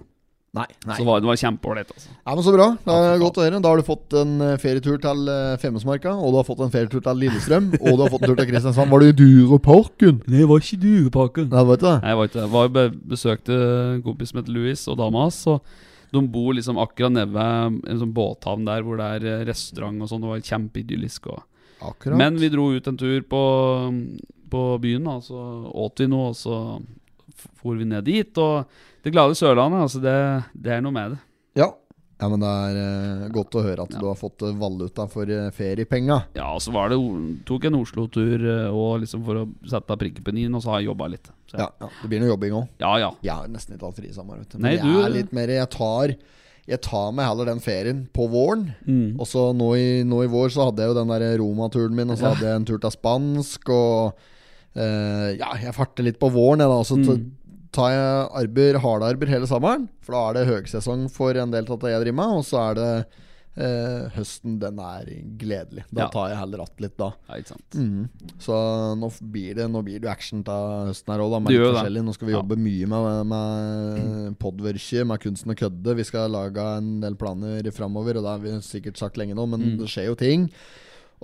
B: Nei,
A: Så var, det var kjempeålreit, altså.
B: Ja, men Så bra. Det
A: Ja,
B: er
A: fy
B: godt å høre. Da har du fått en eh, ferietur til eh, Femundsmarka, og du har fått en ferietur til Lillestrøm, og du har fått en tur til Kristiansand. Var du i Dyreparken?
A: Nei, det var ikke duepakken.
B: Nei, det var ikke det.
A: Nei, jeg var ikke det. Var be besøkte en kompis som heter Louis, og dama hans. Og de bor liksom akkurat nede ved en sånn båthavn der hvor det er eh, restaurant og sånn. Det var kjempeidyllisk. Og...
B: Akkurat.
A: Men vi dro ut en tur på, på byen, da. Så åt vi noe, og så f- for vi ned dit. Og det glade Sørlandet, altså, det, det er noe med det.
B: Ja. ja, men det er eh, godt å høre at
A: Ja.
B: du har fått eh, valuta for eh, feriepenga.
A: Ja, og så var det, tok jeg en Oslo-tur eh, og liksom for å sette prikken på i-en, og så har jeg jobba litt. Så,
B: Ja, ja. Det blir noe jobbing òg.
A: ja, ja.
B: Jeg har nesten ikke hatt fri sammen. vet du.
A: Nei,
B: Men jeg
A: du-
B: er litt mer Jeg tar jeg tar meg heller den ferien på våren.
A: Mm.
B: Og så nå i, nå i vår så hadde jeg jo den der Roma-turen min, og så hadde jeg en tur til spansk, og eh, Ja, jeg farter litt på våren, jeg da.
A: Mm.
B: Og så t- tar jeg arbeid, hardarbeid hele sommeren, for da er det høgsesong for en del av det jeg driver med, og så er det eh, høsten, den er gledelig.
A: Ja.
B: Da tar jeg heller att litt, da.
A: ja ikke sant.
B: Mm. Så nå f- blir det Nå blir det jo action til høsten her òg, da.
A: Det
B: Med litt
A: gjør det.
B: forskjellig. Nå skal vi
A: Ja.
B: jobbe mye med, med podverket, med kunsten å kødde. Vi skal lage en del planer framover, og det har vi sikkert sagt lenge nå, men
A: Mm.
B: det skjer jo ting.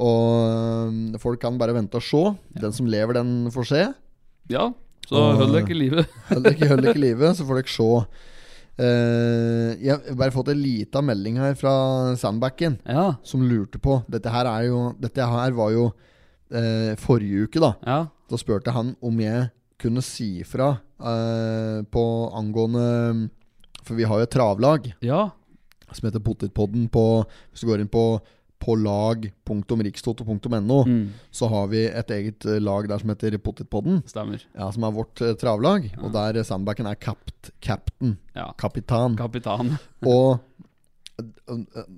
B: Og øhm, folk kan bare vente og se. Den som lever, den får se.
A: Ja, så
B: Og-
A: hold dere i livet.
B: Hold dere, hold dere i live, så får dere se Eh, jeg har bare fått en lita melding her fra Sandbacken,
A: Ja.
B: som lurte på Dette her, er jo, dette her var jo eh, forrige uke, da.
A: Ja.
B: Da spurte han om jeg kunne si fra eh, på angående For vi har jo et travlag
A: Ja.
B: som heter Potetpodden på Hvis du går inn på på lag.rikstoto.no,
A: Mm.
B: så har vi et eget eh, lag der som heter Potetpodden.
A: Stemmer.
B: Ja, som er vårt eh, travlag. Og der eh, Sandbacken er kapt, captain.
A: Ja.
B: Kapitan.
A: Kapitan.
B: Og eh,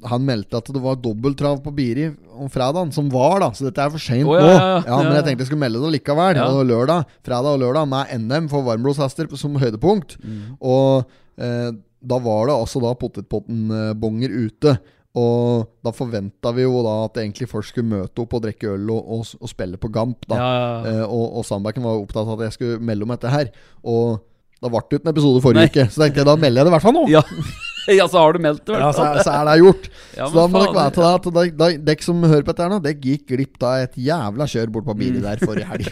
B: han meldte at det var dobbelttrav på Biri om fredagen, som var, da. Så dette er for seint
A: Å, ja,
B: nå.
A: ja, ja. Ja,
B: Men
A: ja.
B: jeg tenkte jeg skulle melde det likevel.
A: Ja.
B: Og lørdag, fredag og lørdag med NM for varmblodshester som høydepunkt.
A: Mm.
B: Og eh, da var det altså da potetpotten-bonger ute. Og da forventa vi jo da at egentlig folk skulle møte opp og drikke øl og, og, og spille på Gamp. da
A: Ja, ja, ja.
B: Eh, og, og Sandbergen var jo opptatt av at jeg skulle melde om dette her. Og da ble det jo ikke en episode forrige
A: Nei.
B: uke, så tenkte jeg da melder jeg det i hvert fall nå.
A: Ja. ja, så har du meldt det, i
B: Ja,
A: hvert
B: så,
A: fall.
B: er, så er det gjort.
A: Ja,
B: så
A: men
B: da må
A: faen,
B: dere være til det at dere- dere- dere som hører på dette her nå, dere gikk glipp av et jævla kjør bort
A: Mm.
B: på bilen der forrige helg.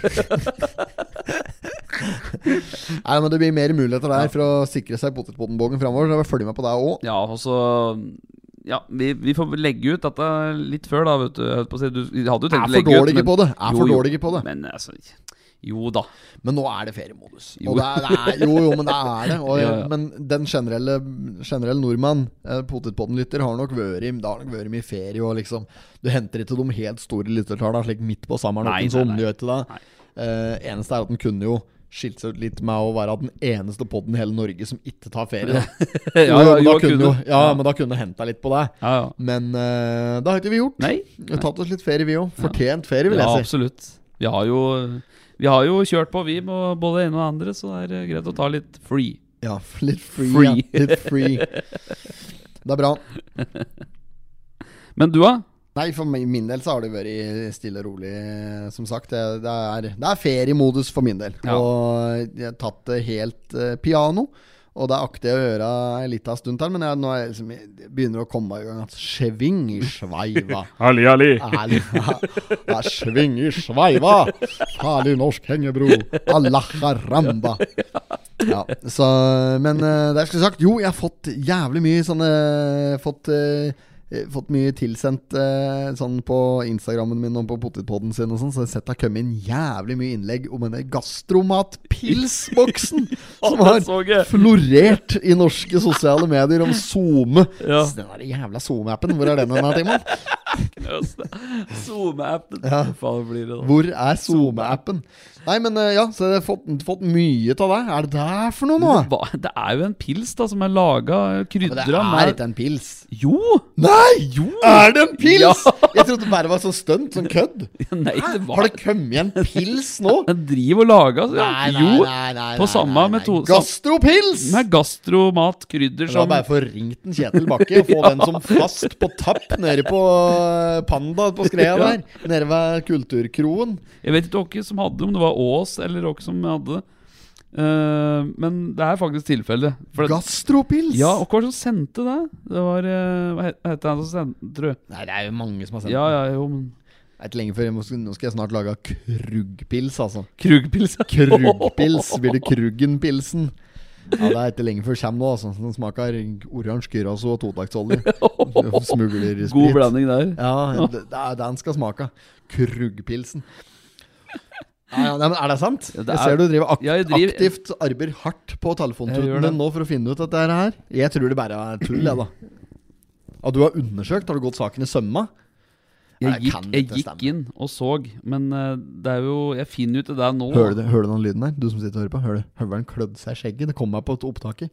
B: Nei, men Det blir mer muligheter der for å sikre seg potetpotenbongen framover. Så jeg vil følge med på det òg.
A: Ja, og så Ja, vi, vi får legge ut dette litt før, da, vet du. Jeg holdt på å si, du vi hadde jo tenkt å
B: Er for
A: legge ut
B: dårlige på det. Er for dårlige på det.
A: Men altså Jo da.
B: Men nå er det feriemodus.
A: Jo.
B: Og det er, det er, jo, jo, men det er det. Og,
A: Ja, ja.
B: Men den generelle, generelle nordmann, eh, potetpottenlytter, har nok vært i- det har nok vært mye ferie. Og liksom, du henter ikke de helt store lyttertallene slik midt på sommeren. sånn
A: Nei,
B: Nei,
A: nei,
B: nei,
A: nei. Nei.
B: Eh, eneste er at den kunne jo skilt seg ut litt med å være den eneste podden i hele Norge som ikke tar ferie. Da.
A: Ja,
B: Jo, jo, men da
A: jo,
B: kunne, jo- ja,
A: Ja.
B: men da kunne henta litt på deg.
A: Ja, ja.
B: Men eh, det har ikke vi gjort.
A: Nei.
B: Vi har tatt oss litt ferie, vi òg. Fortjent ferie, vil
A: ja,
B: jeg si.
A: absolutt. Vi har, jo, vi har jo kjørt på, vi, med både det ene og det andre, så det er greit å ta litt free.
B: Ja, litt free.
A: Free.
B: Ja, litt free. Det er bra.
A: Men du, da?
B: Nei, for min min del så har det vært stille og rolig, eh, som sagt. Det, det, er, det er feriemodus for min del.
A: Ja.
B: Og jeg har tatt det helt eh, piano. Og det akter jeg å gjøre en liten stund til, men jeg, nå er jeg, liksom, jeg begynner å komme i gang at sving i sveiva.
A: Ali, Ali.
B: Ærlig. Ja, sving i sveiva! Farlig norsk hengebro. Allah haramba. Ja, så, men eh, det jeg skulle sagt Jo, jeg har fått jævlig mye sånne Fått, eh, eh, fått mye tilsendt eh, sånn på Instagrammen min og på potetpodden sin og sånn, så jeg har sett det har kommet inn jævlig mye innlegg om denne gastromatpilsboksen som
A: Ja,
B: har
A: det så jeg.
B: florert i norske sosiale medier om SoMe.
A: Ja.
B: Så Den der jævla SoMe-appen, hvor er den hen, Timon?
A: SoMe-appen.
B: Ja.
A: Hva faen blir det, da?
B: Hvor er SoMe-appen? Nei, men eh, ja, så jeg har fått, fått mye av det. Er det der for noe nå?
A: Hva? Det er jo en pils da som er laga
B: Men
A: krydra
B: det er
A: med
B: ikke en pils.
A: Jo!
B: Nei!
A: Jo!
B: Er det en pils?!
A: Ja.
B: Jeg trodde bare det var sånn stunt, sånn kødd.
A: Nei, det
B: Har
A: var
B: det kommet en pils nå?
A: Den driver og lager altså.
B: Nei, nei,
A: Jo!
B: nei, nei,
A: på
B: nei,
A: samme
B: nei, nei.
A: metode-
B: Gastropils!
A: Med gastromat, krydder
B: Det var
A: som
B: bare for å ringe den Kjetil Bakke og få den som fast på tapp nede på eh, Panda på skreia der. Nede ved Kulturkroen.
A: Jeg vet ikke hvem som hadde det, om det var Ås eller hvem som hadde det. Eh, men det er faktisk tilfellet. For det-
B: Gastropils!
A: Ja, og hva var det som sendte det? Det var eh, Hva het het han som sendte den, tror jeg?
B: Nei, det er jo mange som har sendt
A: Ja, ja, jo, men
B: Det er ikke lenge før jeg må, Nå skal jeg snart lage kruggpils, altså.
A: Krugpils, ja.
B: Kruggpils blir det Kruggenpilsen. Ja, Det er ikke lenge før det kommer nå. altså Den smaker oransje gyraso og totaktsolje. Smuglersprit.
A: God blanding der.
B: Ja, det, det er den skal smake. Kruggpilsen. Ja, ja, nei, men er det sant?
A: Ja, det
B: jeg
A: er-
B: ser du driver, ak
A: Ja, jeg driver-
B: aktivt arbeider hardt på
A: Jeg gjør det.
B: telefontuten din nå for å finne ut dette her. Jeg tror det bare er tull, jeg, da. Ja, du har undersøkt? Har du gått saken i sømma?
A: Jeg
B: Nei, det
A: gikk,
B: kan
A: jeg
B: ikke
A: gikk
B: stemme.
A: inn og så, men eh, det er jo Jeg finner jo ikke det nå.
B: Hører du, det- hører du den lyden der? Du som sitter og hører på. Hører du høveren klødde seg i skjegget? Det kom meg på opptaket.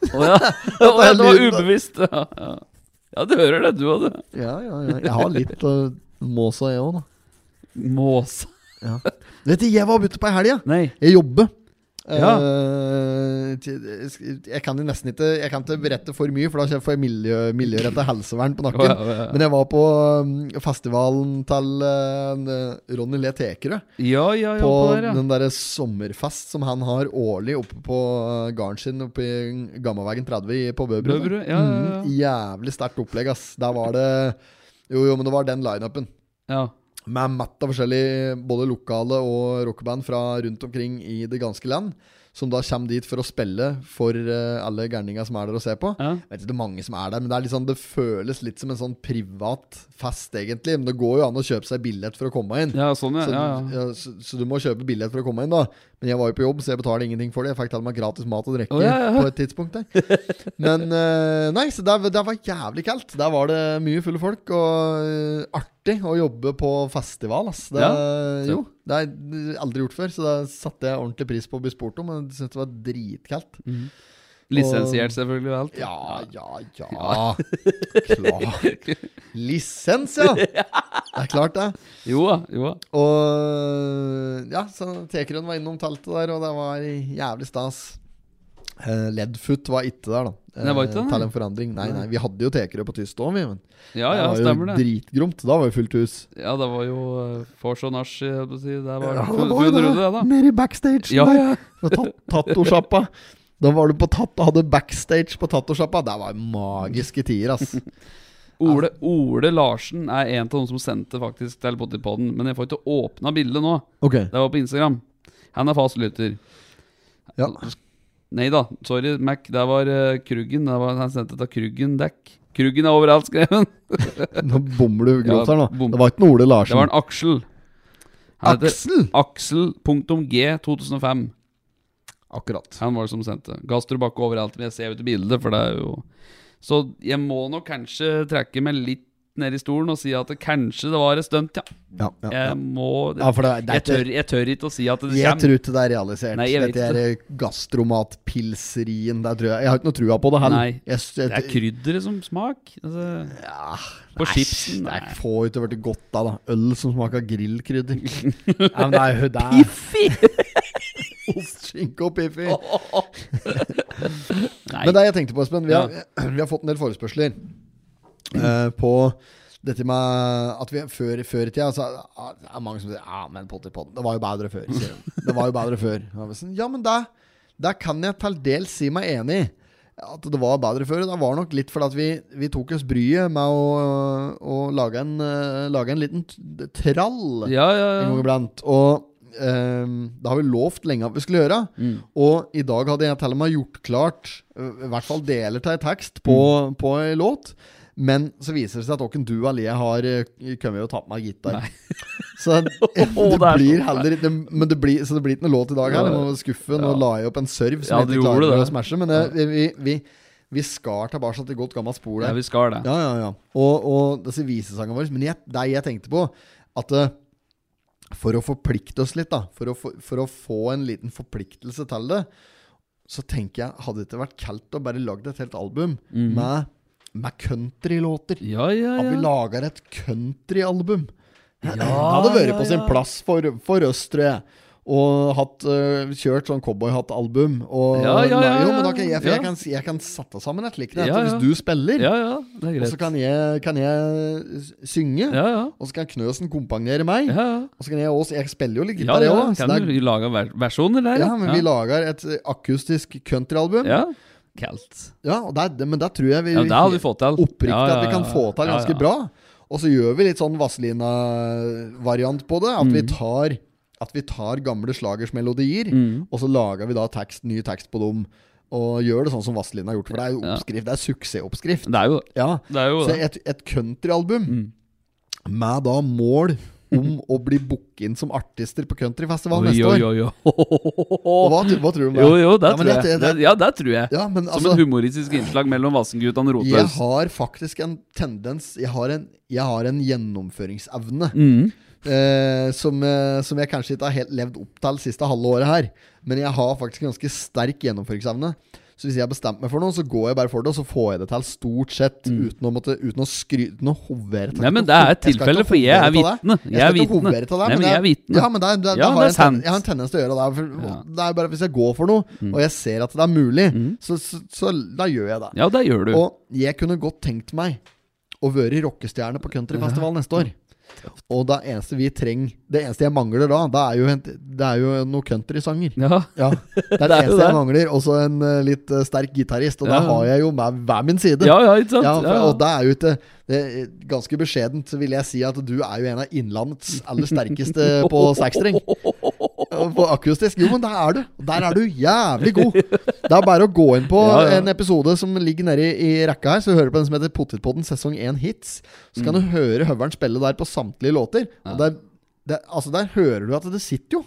A: Å, ja. det,
B: er
A: var, det var
B: lyden.
A: ubevisst. Ja, ja. ja, du hører det, du òg, du.
B: Ja, ja, ja. Jeg har litt uh, måsa, jeg òg, da.
A: Måse.
B: Ja. Du vet, jeg var ute på ei helg, jeg.
A: Nei.
B: Jeg jobber.
A: Ja.
B: Eh, til- jeg kan jo nesten ikke Jeg kan ikke berette for mye, for da får jeg miljø, miljøretta helsevern på
A: Å,
B: nakken.
A: ja, ja, ja.
B: Men jeg var på um, festivalen til eh, Ronny Le Tekerød.
A: Ja, ja, ja.
B: på
A: På der, ja.
B: den derre sommerfest som han har årlig oppe på eh, gården sin oppe i Gammaveien 30 i- på Bøbru.
A: Bøbru, ja, ja, ja.
B: Mhm, jævlig sterkt opplegg, ass. Der var det Jo, jo, men det var den lineupen.
A: ja.
B: Med matt av forskjellig både lokale og rockeband fra rundt omkring i det ganske land. som da kommer dit for å spille for eh, alle gærninga som er der og ser på.
A: Ja.
B: Jeg vet ikke hvor mange som er der, men det, er litt sånn, det føles litt som en sånn privat fest, egentlig. Men det går jo an å kjøpe seg billett for å komme inn.
A: Ja, sånn, ja.
B: Så,
A: ja, ja.
B: ja, så, så du må kjøpe billett for å komme inn, da. Men jeg var jo på jobb, så jeg betaler ingenting for det. Jeg fikk til og med gratis mat og drikke
A: Å, ja, ja.
B: på et tidspunkt der. Men eh, nei, så der, der var jævlig kaldt. Der var det mye fulle folk, og eh, artig å jobbe på festival, ass. Det,
A: Ja,
B: jo, det har jeg aldri gjort før, så da satte jeg ordentlig pris på å bli spurt om. Og jeg syntes det var dritkaldt.
A: Mm. Lisensiert, selvfølgelig. og Alt.
B: Ja, ja, ja. Klart. Lisens, ja! Det er klart, det.
A: Jo da. Jo da.
B: Og ja, så Tekerøen var innom teltet der, og det var jævlig stas. Eh, Ledfoot var ikke der, da. Eh,
A: Nei, var ikke det, nei?
B: Til en forandring. Nei, nei, vi hadde jo Tekerø på tyst òg, vi. Men
A: Ja, ja,
B: det var jo
A: stemmer det.
B: dritgromt. Da var jo fullt hus.
A: Ja, det var jo eh, vors og nach, jeg holdt på å si. Det var
B: Ja, det
A: full
B: var jo
A: full
B: det.
A: runde, det, da.
B: Nede i backstage.
A: Ja,
B: der.
A: ja.
B: På tat- Tattosjappa. Da var du på tatt, hadde backstage på tattosjappa. Det var magiske tider, ass.
A: Ole, Ole Larsen er en av de som sendte faktisk til Potipodden, men jeg får ikke åpna bildet nå.
B: Ok,
A: Det var på Instagram. Han er fast lytter.
B: ja.
A: Nei da, sorry, Mac. Det var eh, Kruggen. Det var, han sendte til Kruggen Dekk. Kruggen er overalt, skrev han.
B: Nå bommer du grovt her, nå.
A: Ja, bom.
B: Det var ikke noe Ole
A: Det var
B: Larsen.
A: en Aksel. Han heter
B: Aksel!
A: Aksel.g2005.
B: Akkurat.
A: Han var det som sendte. Gaster bakke overalt. Men jeg ser jo ikke bildet, for det er jo Så jeg må nok kanskje trekke meg litt ned i stolen og si at det kanskje det var et stunt, ja.
B: Ja, ja, ja.
A: Jeg må
B: ja for det,
A: Eh, jeg,
B: det er ikke
A: tør, jeg tør ikke å si at det
B: Jeg
A: kommer.
B: tror ikke det er realisert.
A: Nei, jeg vet
B: Dette er gastromatpilserien. Der tror jeg. jeg har ikke noe trua på det heller.
A: Nei,
B: jeg, jeg,
A: Det er krydderet som smak. Altså,
B: Ja,
A: på
B: nei,
A: chipsen.
B: Det
A: nei.
B: er få ikke vært godt av, da. Øl som smaker grillkrydder. ja, men det er jo det er
A: Fy!
B: ost, skinke og piffi.
A: Nei.
B: Men det jeg tenkte på, Espen, vi har, vi har fått en del forespørsler eh, på dette med at vi før, før i tida så er det mange som sier Ja, men pott i pott, det var jo bedre før. Sier de. Det var jo bedre før. Ja, men sånn, Ja, men det, det kan jeg til dels si meg enig i. At det var bedre før. og Det var nok litt fordi at vi, vi tok oss bryet med å, å lage, en, eh, lage en liten t- trall
A: Ja, ja,
B: en gang
A: ja.
B: iblant. Og ehm, det har vi lovt lenge at vi skulle gjøre.
A: Mm.
B: Og i dag hadde jeg til og med gjort klart øh, i hvert fall deler av en tekst på,
A: Mm.
B: på en låt. Men så viser det seg at åkken du alene har øh, kommet og tatt meg gitar. Så det, det
A: Å, det er
B: blir
A: så-
B: heller ikke men det blir, Så det blir ikke noe låt i dag heller. Jeg må skuffe. Nå
A: Ja.
B: la jeg opp en serve som
A: Ja,
B: jeg
A: du
B: ikke
A: gjorde
B: klarer å
A: det.
B: smashe, men jeg, vi, vi, vi, vi skar tilbake til godt gammelt spor der.
A: ja, vi skal det.
B: Ja, ja, ja. Og, og disse visesangene våre. Men jeg, det jeg tenkte på, at eh, for å forplikte oss litt, da, for å, få- for å få en liten forpliktelse til det, så tenker jeg, hadde det ikke vært kaldt å bare lage et helt album med, med countrylåter?
A: Ja, Mhm. ja,
B: At vi
A: ja.
B: lager et countryalbum. det hadde vært på sin plass for, for oss, tror jeg. Og hatt, øh, kjørt sånn cowboyhattalbum. Og
A: Ja, ja, ja,
B: Jo, men da kan jeg, for
A: ja.
B: jeg, kan, jeg kan sette sammen et likt et.
A: Ja,
B: så
A: ja.
B: Hvis du spiller,
A: Ja, ja, det er
B: og
A: greit.
B: så kan jeg, kan jeg s- synge.
A: Ja, ja.
B: Og så kan Knøsen kompagnere meg.
A: Ja, ja.
B: Og så kan jeg også Jeg spiller jo litt
A: Ja,
B: gitar, jeg
A: ja,
B: òg. så det
A: kan
B: er-
A: du lage ver- versjoner der?
B: ja, men vi lager et eh, akustisk countryalbum. Ja.
A: Ja, kaldt.
B: og det er- men det tror jeg vi
A: Ja, det hadde vi fått til.
B: oppriktig
A: Ja, ja,
B: at vi kan
A: ja,
B: få til
A: ja,
B: ganske
A: ja.
B: bra. Og så gjør vi litt sånn Vazelina-variant på det. At,
A: Mm.
B: vi tar, at vi tar gamle slagersmelodier,
A: Mm.
B: og så lager vi da tekst, ny tekst på dem. Og gjør det sånn som Vazelina har gjort, for det er jo
A: Ja. Mm.
B: oppskrift. Det er suksessoppskrift.
A: Det er jo
B: Ja.
A: det. Er jo,
B: Så
A: det.
B: et, et countryalbum med da mål om å bli booket inn som artister på countryfestival neste
A: Oi,
B: år.
A: oi, oi.
B: Og hva, hva tror du om det?
A: Jo, jo, det
B: Ja, men
A: tror jeg.
B: det- det-
A: Det- Ja, det tror jeg.
B: Ja, men
A: Som
B: altså
A: et humoristisk innslag mellom Vassendguttan og
B: Jeg
A: Rotløs.
B: har faktisk en tendens Jeg har en, jeg har en gjennomføringsevne
A: Mm.
B: eh, som, eh, som jeg kanskje ikke har helt levd opp til det siste halve året her. Men jeg har faktisk en ganske sterk gjennomføringsevne. Så hvis jeg har bestemt meg for noe, så går jeg bare for det, og så får jeg det til stort sett. Uten å, måtte, uten å skryte Uten å hovere til
A: Mm. Nei, men det er et
B: Jeg skal
A: tilfelle,
B: ikke
A: for jeg er
B: hovere til
A: vitne.
B: det.
A: Jeg er
B: skal ikke
A: vitne.
B: hovere til
A: Nei,
B: det,
A: men
B: det
A: jeg er vitne.
B: Ja, men det er, det,
A: Ja,
B: det
A: det
B: har
A: er
B: jeg, en ten,
A: sant.
B: jeg har en tendens til å gjøre det. For,
A: Ja. Mm.
B: Det er bare Hvis jeg går for noe, og jeg ser at det er mulig, så, så, så da gjør jeg det.
A: Ja, det gjør du.
B: Og jeg kunne godt tenkt meg å være rockestjerne på countryfestival neste år. Og det eneste vi trenger Det eneste jeg mangler da, det er jo, en, det er jo noen countrysanger.
A: Ja.
B: Ja, det er det,
A: Det er jo
B: eneste
A: det.
B: jeg mangler. Og så en eh, litt eh, sterk gitarist, og
A: Ja.
B: det har jeg jo med hver min side.
A: ja, ja, ikke sant?
B: Ja, for,
A: Ja, ja.
B: og det er jo ikke det er Ganske beskjedent så vil jeg si at du er jo en av Innlandets aller sterkeste på sekstring. På akustisk. Jo, men der er du. Der er du jævlig god. Det er bare å gå inn på
A: Ja, ja.
B: en episode som ligger nede i, i rekka her. Så hører du på den som heter Potetpodden sesong 1 hits. Så
A: Mm.
B: kan du høre høveren spille der på samtlige låter. Og der, der, altså der hører du at det sitter jo.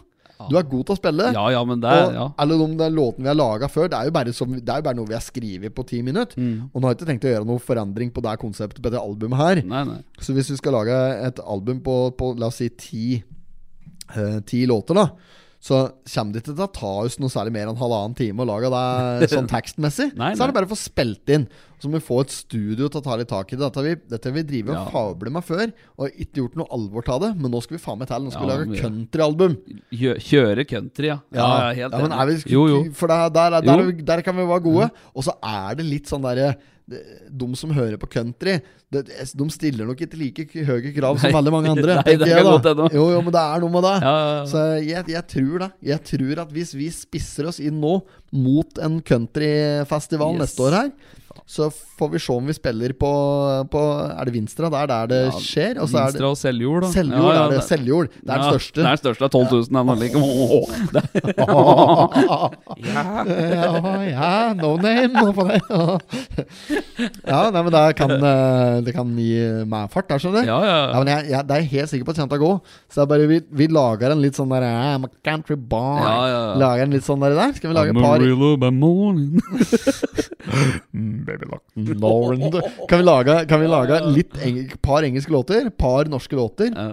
B: Du er god til å spille.
A: Ja, ja, men det
B: Og
A: ja.
B: alle de der låtene vi har laga før, det er, jo bare som, det er jo bare noe vi har skrevet på ti minutter.
A: Mm.
B: Og nå har jeg ikke tenkt å gjøre noe forandring på det her konseptet på dette albumet her.
A: Nei, nei.
B: Så hvis vi skal lage et album på, på la oss si ti, eh, ti låter, da. Så kommer det ikke til å ta oss noe særlig mer enn halvannen time å lage det sånn tekstmessig.
A: Nei,
B: Så
A: nei.
B: er det bare å få spilt inn. Så må vi få et studio til å ta litt tak i det. Dette har vi, dette har vi drevet og
A: Ja.
B: fablet med før, og ikke gjort noe alvor av det. Men nå skal vi faen meg til. Nå skal
A: Ja,
B: vi
A: vi-
B: lage countryalbum.
A: Kjø kjøre country, ja. Ja, ja, helt
B: ja, men
A: enig.
B: er vi,
A: Jo, jo.
B: For der, der, er- der,
A: Jo. Mm.
B: er vi- der kan vi være gode. Og så er det litt sånn derre De som hører på country, det, de stiller nok ikke like k- høye krav som
A: Nei.
B: veldig mange andre.
A: Nei,
B: tenker
A: det
B: jeg
A: kan
B: da.
A: godt hende.
B: Jo, jo, men det er noe med det.
A: Ja, ja, ja.
B: Så jeg, jeg tror det. Jeg tror at hvis vi spisser oss inn nå mot en countryfestival
A: Yes.
B: neste år her, så får vi se om vi spiller på, på Er det Vinstra? Det er der det skjer. Og så er det
A: Vinstra og Seljord, da.
B: Seljord.
A: Ja, ja,
B: er det,
A: det-
B: Seljord. Det er
A: Ja,
B: den største.
A: Det er den største av 12 000. den er like- Åh, åh, åh. Det-
B: ja, ja, no name nå på det. ja, nei, men det kan, eh, det kan gi meg fart der, skjønner du.
A: Ja, ja.
B: Ja, men jeg, jeg, det er jeg helt sikker på at det kommer til å gå. Så det er bare vi, vi lager en litt sånn der I'm a country boy.
A: Ja, ja, ja.
B: Lager en litt sånn der, der. Skal vi lage et par
A: Amarillo by morning.
B: Lauren. Kan vi lage, kan vi lage litt eng par engelske låter? Par norske låter?
A: Ja.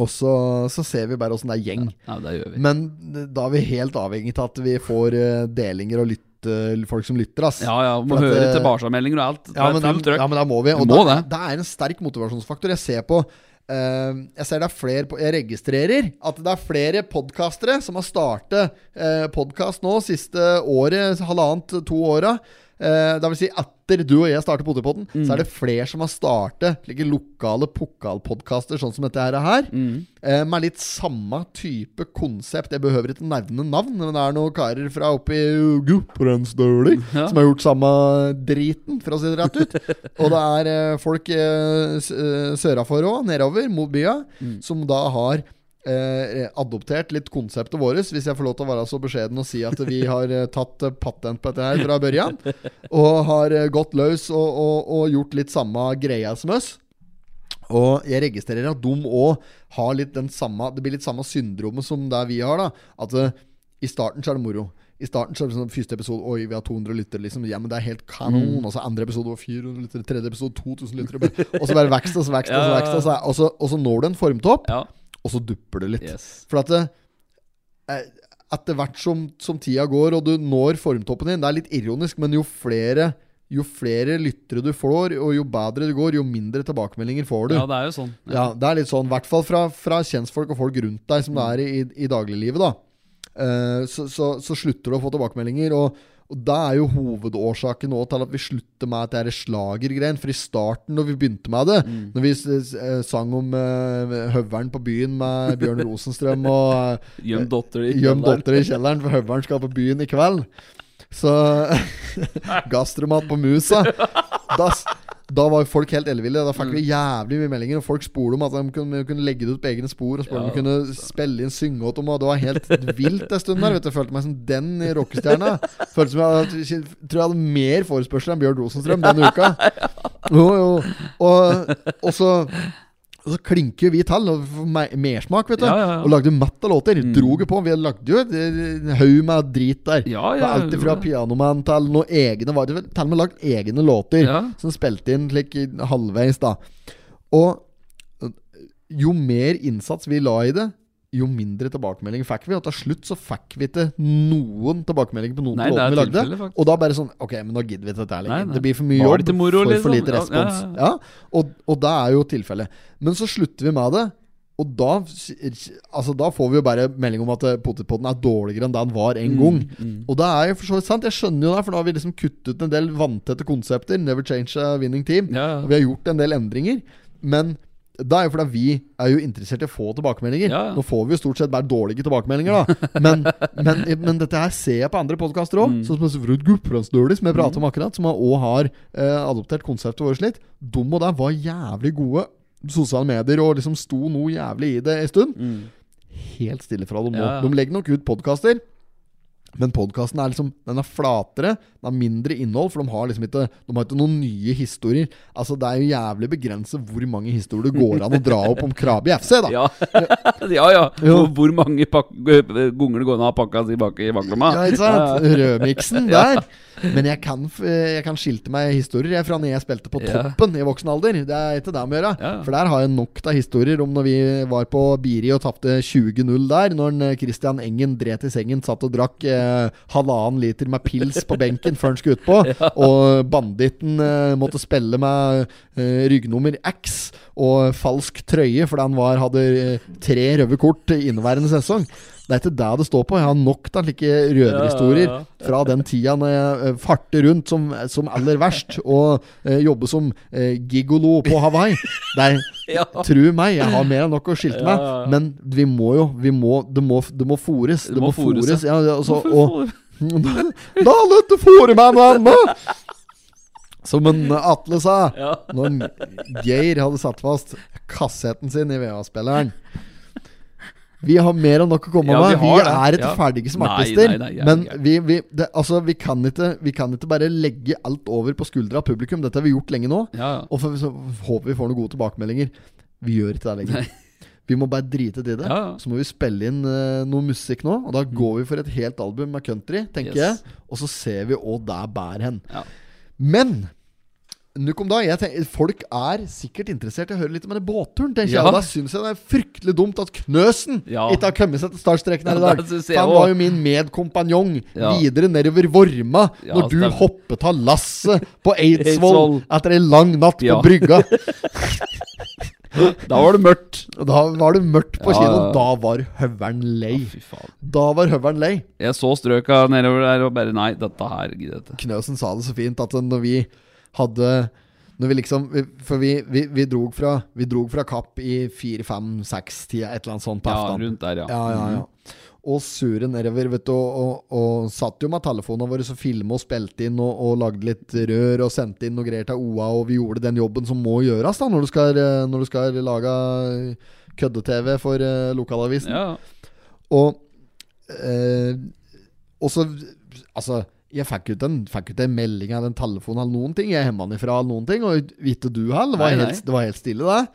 B: Og så, så ser vi bare åssen det er gjeng.
A: Ja, det gjør vi.
B: Men eh, da er vi helt avhengig av at vi får eh, delinger og lytte, folk som lytter, ass.
A: Ja, ja. Må
B: For at,
A: høre
B: eh,
A: tilbakemeldinger og alt. Det
B: Ja,
A: er
B: men,
A: fullt
B: da, ja,
A: trøkk.
B: men da må vi. Og
A: Du må
B: da,
A: det.
B: det er en sterk motivasjonsfaktor. Jeg ser på eh, Jeg ser det er flere på Jeg registrerer at det er flere podkastere som har startet uh, podkast nå siste året, halvannet, to åra. Eh, det vil si etter du og jeg startet Potetpodden,
A: Mm.
B: så er det flere som har startet slike lokale pokalpodkaster sånn som dette her. er her
A: Mm.
B: eh, med litt samme type konsept. Jeg behøver ikke nevne navn, men det er noen karer fra oppe i Gudbrandsdølen
A: Ja.
B: som har gjort samme driten, for å si det rett ut. Og det er eh, folk eh, s- eh, sørafor òg, nedover mot bya, som da har Eh, adoptert litt konseptet vårt, hvis jeg får lov til å være så beskjeden og si at vi har eh, tatt eh, patent på dette her fra børjan. Og har eh, gått løs og, og, og gjort litt samme greia som oss. Og jeg registrerer at de òg har litt den samme Det blir litt samme syndromet som det vi har, da. At eh, i starten så er det moro. I starten så er det sånn første episode Oi, vi har 200 lyttere, liksom. Ja, men det er helt kanon.
A: Mm.
B: Og så andre episode var 400 lyttere. Tredje episode 2000 lyttere. bare- Og så bare vekst og så vekst og så
A: Ja.
B: vekst. Og så, og så, og så når du en formtopp,
A: Ja.
B: og så dupper det litt.
A: Yes.
B: For at det, eh, etter hvert som, som tida går, og du når formtoppen din Det er litt ironisk, men jo flere jo flere lyttere du får, og jo bedre det går, jo mindre tilbakemeldinger får du.
A: Ja, det er jo sånn.
B: Ja, det er litt sånn, i hvert fall fra, fra kjentfolk og folk rundt deg som det er i, i dagliglivet, da. Eh, så, så, så slutter du å få tilbakemeldinger, og, og det er jo hovedårsaken nå til at vi slutter med at det er slagergreien. For i starten, når vi begynte med det, når vi s- s- eh, sang om eh, høveren på byen med Bjørn Rosenstrøm og eh,
A: Gjem dotter i
B: Gjem
A: kjelleren.
B: datter i kjelleren, for høveren skal på byen i kveld. Så Gastromat på musa. Da, s- da var folk helt elleville. Da
A: Mm.
B: fikk vi jævlig mye meldinger, og folk spurte om at de kunne, kunne legge det ut på egne spor. Og spurte om de kunne spille inn synge åt dem, og det var helt vilt en stund der. Vet du. Jeg følte meg som den i rockestjerna. Følte som jeg, jeg tror jeg hadde mer forespørsel enn Bjørn Rosenstrøm den uka. Jo, jo. Og, og så og så klinker vi til, og får me- mersmak, vet du.
A: Ja, ja, ja.
B: Og lagde matt av låter.
A: Mm.
B: Drog jo på. Vi lagde jo en haug med drit der.
A: Ja, ja,
B: Det er Alt fra
A: gjorde det.
B: Pianoman til noen egne var det vel- Til og med lagd egne låter
A: Ja.
B: som spilte inn slik i- halvveis, da. Og øh, jo mer innsats vi la i det, jo mindre tilbakemelding fikk vi. Og til slutt så fikk vi ikke noen tilbakemelding på noen
A: Nei, det
B: låter
A: er
B: vi lagde.
A: tilfellet, faktisk.
B: Og da bare sånn Ok, men nå gidder vi ikke dette her
A: Nei,
B: lenger.
A: nei.
B: Det blir for mye
A: Var
B: jobb
A: det til moro,
B: for, for lite
A: liksom? Ja,
B: respons.
A: ja, ja.
B: Ja, og, og det er jo tilfellet. Men så slutter vi med det. Og da, altså da får vi jo bare melding om at eh, potetpotten er dårligere enn det den var
A: Mm,
B: en gang. Og det er jo for så vidt sant. Jeg skjønner jo det, for da har vi liksom kuttet ut en del vanntette konsepter. Never change a winning team.
A: Ja, ja.
B: Og vi har gjort en del endringer. Men det er jo fordi vi er jo interessert i å få tilbakemeldinger.
A: Ja, ja.
B: Nå får vi jo stort sett bare dårlige tilbakemeldinger, da. Men, men, men dette her ser jeg på andre podkaster
A: Mm.
B: òg. Sånn som Frud Gudbrandsdøli, som jeg pratet om akkurat, som òg har eh, adoptert konseptet vårt litt. De og der var jævlig gode sosiale medier og liksom sto noe jævlig i det en stund. helt stille fra dem nå.
A: Mm. Ja, ja.
B: De legger nok ut podkaster, men podkasten er liksom Den er flatere, den har mindre innhold, for de har liksom ikke De har ikke noen nye historier. Altså Det er jo jævlig begrenset hvor mange historier det går an å dra opp om Krabi FC, da.
A: Ja, ja. ja.
B: Jo.
A: Hvor- Hvor mange pak ganger det går an å ha pakka si bak i baklomma?
B: Ja, ikke sant? Rødmiksen der. Men jeg kan, f- eh, jeg kan skilte meg historier jeg, fra når jeg spilte på
A: Ja.
B: toppen i voksen alder. Det er ikke det med å gjøre.
A: Ja.
B: For der har jeg nok av historier om når vi var på Biri og tapte 20-0 der. Når en, eh, Christian Engen dret i sengen, satt og drakk eh, halvannen liter med pils på benken før han skulle utpå. Og banditten eh, måtte spille med eh, ryggnummer X og falsk trøye fordi han var, hadde eh, tre røde kort i inneværende sesong. Det er ikke det det står på. Jeg har nok av slike røverhistorier
A: Ja, ja,
B: fra den tida når jeg eh, farter rundt som, som aller verst og eh, jobber som eh, gigolo på Hawaii. Det er,
A: Ja.
B: Tru meg, jeg har mer enn nok å skilte meg.
A: Ja, ja, ja.
B: Men vi må jo vi må, Det må, det må fores. Det, må fores, ja. ja, altså, og, da lot du fòre meg noe annet! Som en Atle sa
A: Ja.
B: når en Geir hadde satt fast kassetten sin i VA-spilleren. Vi har mer enn nok å komme
A: Ja, vi
B: med. Vi,
A: har
B: er
A: det.
B: ikke
A: Ja.
B: ferdige som
A: Nei,
B: artister.
A: nei, nei, jeg er
B: men
A: ikke.
B: vi, vi, det, altså, vi, kan ikke, vi kan ikke bare legge alt over på skuldra av publikum. Dette har vi gjort lenge nå.
A: Ja, ja.
B: Og for, så håper vi får noen gode tilbakemeldinger. Vi gjør ikke det lenger. Vi må bare drite til det.
A: Ja, ja.
B: Så må vi spille inn eh, noe musikk nå. Og da går vi for et helt album med country, tenker
A: Yes.
B: jeg. Og så ser vi hva det bærer hen.
A: Ja.
B: Men nok om det. Jeg tenker, folk er sikkert interessert i å høre litt om denne båtturen. Tenker
A: Ja.
B: jeg Og Da syns jeg det er fryktelig dumt at Knøsen
A: Ja.
B: ikke har kommet seg til startstreken her i dag.
A: Ja, det synes jeg
B: For han
A: også.
B: var jo min medkompanjong
A: Ja.
B: videre nedover Vorma
A: Ja,
B: når du
A: stemmer.
B: hoppet av lasset på Eidsvoll
A: Eidsvoll.
B: etter ei lang natt på
A: Ja.
B: brygga.
A: Da var det mørkt.
B: Og Da var det mørkt på
A: Ja,
B: kino.
A: ja.
B: Da var høveren lei.
A: Fy faen.
B: Da var høveren lei.
A: Jeg så strøka nedover der og bare Nei, dette her gidder jeg ikke.
B: Knøsen sa det så fint at når vi hadde når vi liksom, For vi, vi, vi, drog, fra, vi drog fra Kapp i fire-fem-seks-tida, et eller annet sånt på
A: Ja,
B: aftan.
A: rundt der, ja.
B: Ja, ja, ja. Og sure nedover, vet du. Og, og, og satt jo med telefonene våre og filma og spilte inn og, og lagde litt rør og sendte inn noe greier til OA, og vi gjorde den jobben som må gjøres da når du skal, eh, når du skal lage eh, kødde-TV for eh, lokalavisen.
A: Ja,
B: Og eh, Og så Altså, jeg fikk jo ikke en, fikk jo ikke en melding eller en telefon eller noen ting. Jeg hemma den ifra eller noen ting, og ikke du heller. Det var
A: Nei, nei.
B: helt- Det var helt stille, det.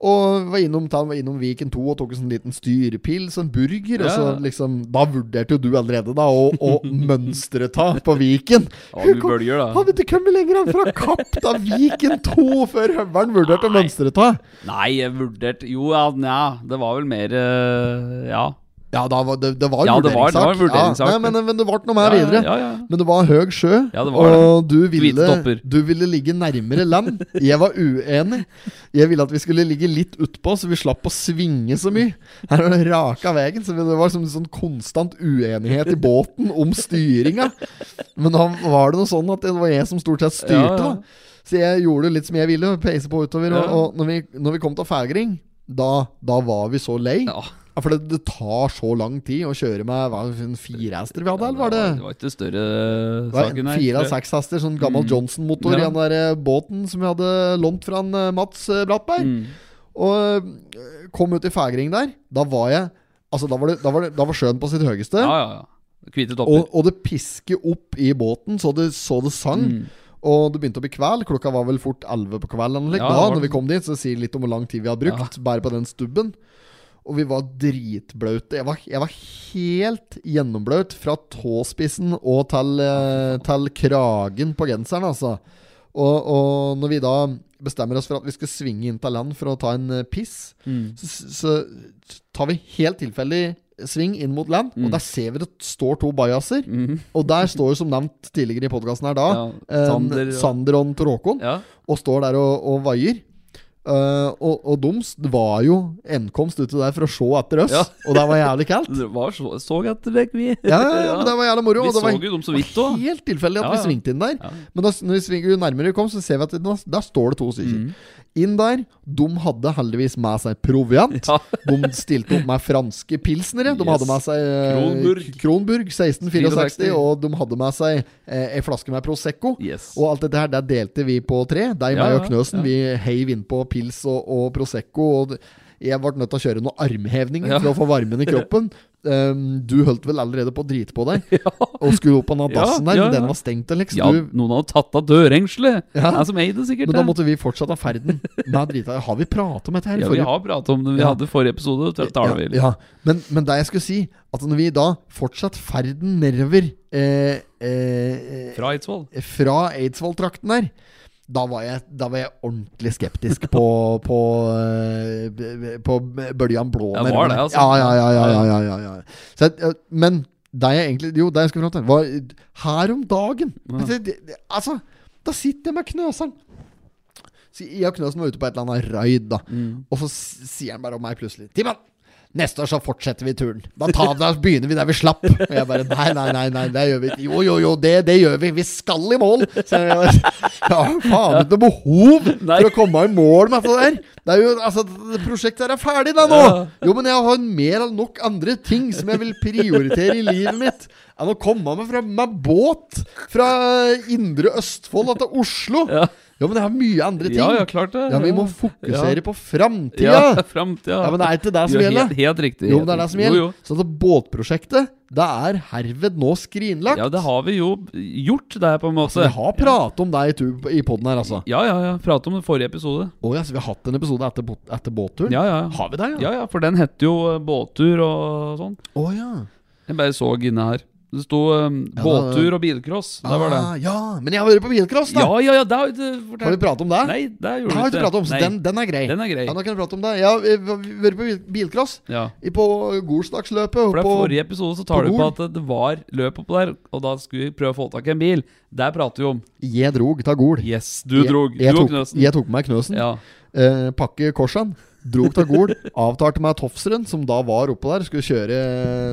B: Og var innom, ta, var innom Viken 2 og tok en sånn liten styrepils og en burger. Og så
A: Ja.
B: liksom, da vurderte jo du allerede da å, å mønstre ta på Viken.
A: Ja, vi bølger, da.
B: Hadde ikke kommet lenger enn fra Kapp da Viken 2 før høveren vurderte å mønstre ta.
A: Nei, jeg vurderte Jo, ja, nja, det var vel mer eh, Ja.
B: Ja, da var, det, det var
A: Ja, det var- det
B: vurderingssak.
A: var en vurderingssak.
B: Ja, nei, men, men det ble noe mer
A: Ja, ja,
B: videre.
A: ja, ja.
B: Men det var høg sjø,
A: Ja, det var
B: og du ville,
A: Hvite topper.
B: du ville ligge nærmere land. Jeg var uenig. Jeg ville at vi skulle ligge litt utpå, så vi slapp å svinge så mye. Her var det raka veien, så det var som en sånn konstant uenighet i båten om styringa. Men da var det noe sånn at det var jeg som stort sett styrte.
A: Ja, ja.
B: da. Så jeg gjorde litt som jeg ville, peise på utover.
A: Ja.
B: Og, og når, vi, når vi kom til Fægring, da, da var vi så lei.
A: ja.
B: Ja, for det, det tar så lang tid å kjøre med hva, en firehester vi hadde, eller var det?
A: Det var ikke større
B: Det var
A: saken
B: en
A: her.
B: fire-
A: tror
B: og
A: jeg.
B: sekshester, sånn gammel Johnson-motor i
A: Ja.
B: den der eh, båten som vi hadde lånt fra en, eh, Mats eh, Brattberg.
A: Mm.
B: Og eh, kom ut i Fægring der. Da var jeg Altså, da var, det, da var, det, da var sjøen på sitt høyeste.
A: Ja, ja, ja. Hvite topper.
B: Og, og det pisker opp i båten, så det, så det sang.
A: Mm.
B: Og det begynte å bli kveld. Klokka var vel fort 11 på kvelden. eller noe
A: Ja,
B: da
A: det var
B: når vi
A: det.
B: kom dit, så det sier litt om hvor lang tid vi har brukt bare på den stubben. Og vi var dritblaute. Jeg var, jeg var helt gjennomblaut fra tåspissen og til, eh, til kragen på genseren, altså. Og, og når vi da bestemmer oss for at vi skal svinge inn til land for å ta en eh, piss, så, så tar vi helt tilfeldig sving inn mot land,
A: Mm.
B: og der ser vi det står to bajaser. Og der står jo som nevnt tidligere i podkasten her da
A: Ja,
B: eh,
A: Sander og-
B: Sander og Tor Håkon,
A: Ja.
B: og står der og, og vaier. Eh, og, og doms det var jo enkomst ute der for å se etter oss,
A: Ja.
B: og det var jævlig kaldt.
A: Det var så, så etter deg, vi.
B: Ja, ja, ja, men det var jævla moro.
A: Vi
B: og det var
A: så jo dem så vidt også.
B: Helt tilfeldig at
A: Ja,
B: vi
A: ja.
B: svingte inn der.
A: Ja.
B: Men da, når vi svinger jo nærmere vi kom, så ser vi at det, nå- der står det to stykker.
A: Mm.
B: Inn der. De hadde heldigvis med seg proviant.
A: Ja.
B: De stilte opp med franske pilsnere. De
A: Yes.
B: hadde med seg eh,
A: Kronburg.
B: Kronburg 1664,
A: 64.
B: og de hadde med seg eh, ei flaske med Prosecco.
A: Yes.
B: Og alt dette her, der delte vi på tre. Deg,
A: Ja,
B: meg
A: ja,
B: og Knøsen.
A: ja.
B: Vi heiv innpå pils og, og Prosecco. Og det- Jeg ble nødt til å kjøre noen armhevninger
A: Ja.
B: for å få varmen i kroppen. Ehm, du holdt vel allerede på å drite på deg og skulle opp på den
A: Ja,
B: dassen der,
A: ja,
B: men den
A: ja.
B: var stengt, Alex.
A: Ja,
B: Du,
A: noen hadde tatt av dørhengselet!
B: Ja.
A: Jeg som eier det, sikkert.
B: men da
A: det.
B: måtte vi fortsette ferden med drita. Har vi pratet om dette her? i
A: ja,
B: forrige-
A: vi har pratet om det. Vi
B: Ja.
A: hadde forrige episode. Da taler vi litt.
B: ja, ja. Men, men det jeg skulle si, at når vi da fortsatt ferden nedover eh, eh,
A: Fra Eidsvoll.
B: fra Eidsvoll-trakten der da var, jeg, da var jeg ordentlig skeptisk på På, eh, b- b- på bøljan blå.
A: Ja, var det, altså?
B: Ja, ja, ja. ja, ja, ja, ja, ja. Så, jeg- eh, men det jeg egentlig Jo, det jeg skulle fram til, var her om dagen. Det- det- det- Altså, da sitter jeg med knøseren. Så jeg og Knøsen var ute på et eller annet raid, da.
A: Mm.
B: Og så s- sier han bare om meg plutselig Timon! Neste år så fortsetter vi turen. Da, tar, da begynner vi der vi slapp. Og jeg bare Nei, nei, nei, nei det gjør vi ikke. Jo, jo, jo, det, det gjør vi. Vi skal i mål! Så jeg bare, ja, faen ikke noe behov
A: Nei.
B: for å komme i mål med det der. Det er jo, altså, det prosjektet her er ferdig da nå! Jo, men jeg har mer enn nok andre ting som jeg vil prioritere i livet mitt enn å komme meg fra med båt fra indre Østfold og til Oslo.
A: Ja.
B: Jo, men jeg har mye andre ting.
A: Ja, ja, klart det.
B: Ja, vi må fokusere på framtida!
A: ja.
B: Ja.
A: Ja, framtida.
B: men det er ikke det som
A: Jo,
B: gjelder.
A: Helt, helt riktig.
B: Jo, men det er det som
A: Jo,
B: gjelder.
A: jo.
B: Så det båtprosjektet, det er herved nå skrinlagt.
A: Ja, det har vi jo gjort, det her, på en måte.
B: Så Altså, vi har pratet om deg i, tu- i poden her, altså.
A: Ja, ja, ja. Prate om det forrige episode.
B: Å ja, så vi har hatt en episode etter, bå- etter båtturen?
A: Ja, ja.
B: Har vi det, ja?
A: Ja, ja, for den hette jo eh, båttur og sånn.
B: Å ja.
A: Jeg bare så inne her. Det sto eh, båttur og bilcross. Det var det.
B: Ah, ja. Men jeg har vært på bilcross, da!
A: Ja, ja, ja, det har vi ikke fortalt.
B: Har vi pratet om det?
A: Nei, det
B: Det
A: gjorde
B: har
A: vi
B: vi ikke pratet om, så
A: Nei.
B: den, den er grei.
A: Den er grei.
B: Ja, da kan vi prate om det. Ja, vi vi har vært på bil- bilcross.
A: Ja.
B: I- På Golsdagsløpet.
A: For det
B: på,
A: er forrige episode så tar
B: på
A: du på
B: Gol.
A: at det var løp oppå der, og da skulle vi prøve å få tak i en bil. Der prater vi om.
B: Jeg drog ta Gol.
A: Yes, du drog.
B: Jeg, jeg,
A: du og
B: tok,
A: Knøsen.
B: jeg tok på meg Knøsen.
A: Ja.
B: eh, pakke korsan, drog til Gol, avtalte meg Tofseren, som da var oppå der, skulle kjøre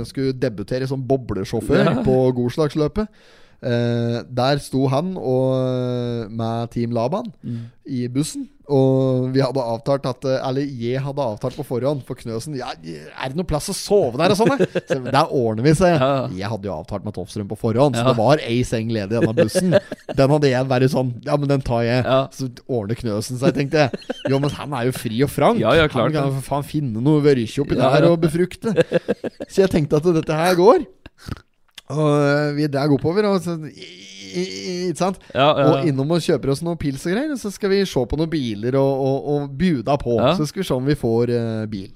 B: Skulle debutere som boblesjåfør på Golslagsløpet. Eh, der sto han og, med Team Laban
A: Mm.
B: i bussen. Og vi hadde avtalt at eh, Eller jeg hadde avtalt på forhånd for Knøsen ja, 'Er det noe plass å sove der?' og sånn. eh?» Så der ordner vi seg.
A: Ja.
B: Jeg hadde jo avtalt med Tofsrud på forhånd, så det var ei seng ledig i denne bussen. Den hadde jeg vært sånn Ja, men den tar jeg.
A: Ja.
B: Så ordner Knøsen seg, tenkte jeg. Jo, men han er jo fri og frank.
A: Ja, ja, klart
B: han kan jo for faen finne noe vørkje oppi
A: Ja,
B: der
A: ja.
B: og befrukte. Så jeg tenkte at dette her går. Og eh, vi drar oppover, og så Ikke sant?
A: Ja, ja, ja.
B: Og innom og kjøper oss noen pils og greier. og Så skal vi se på noen biler og, og, og buda på.
A: Ja.
B: Så skal vi se om vi får eh, bil.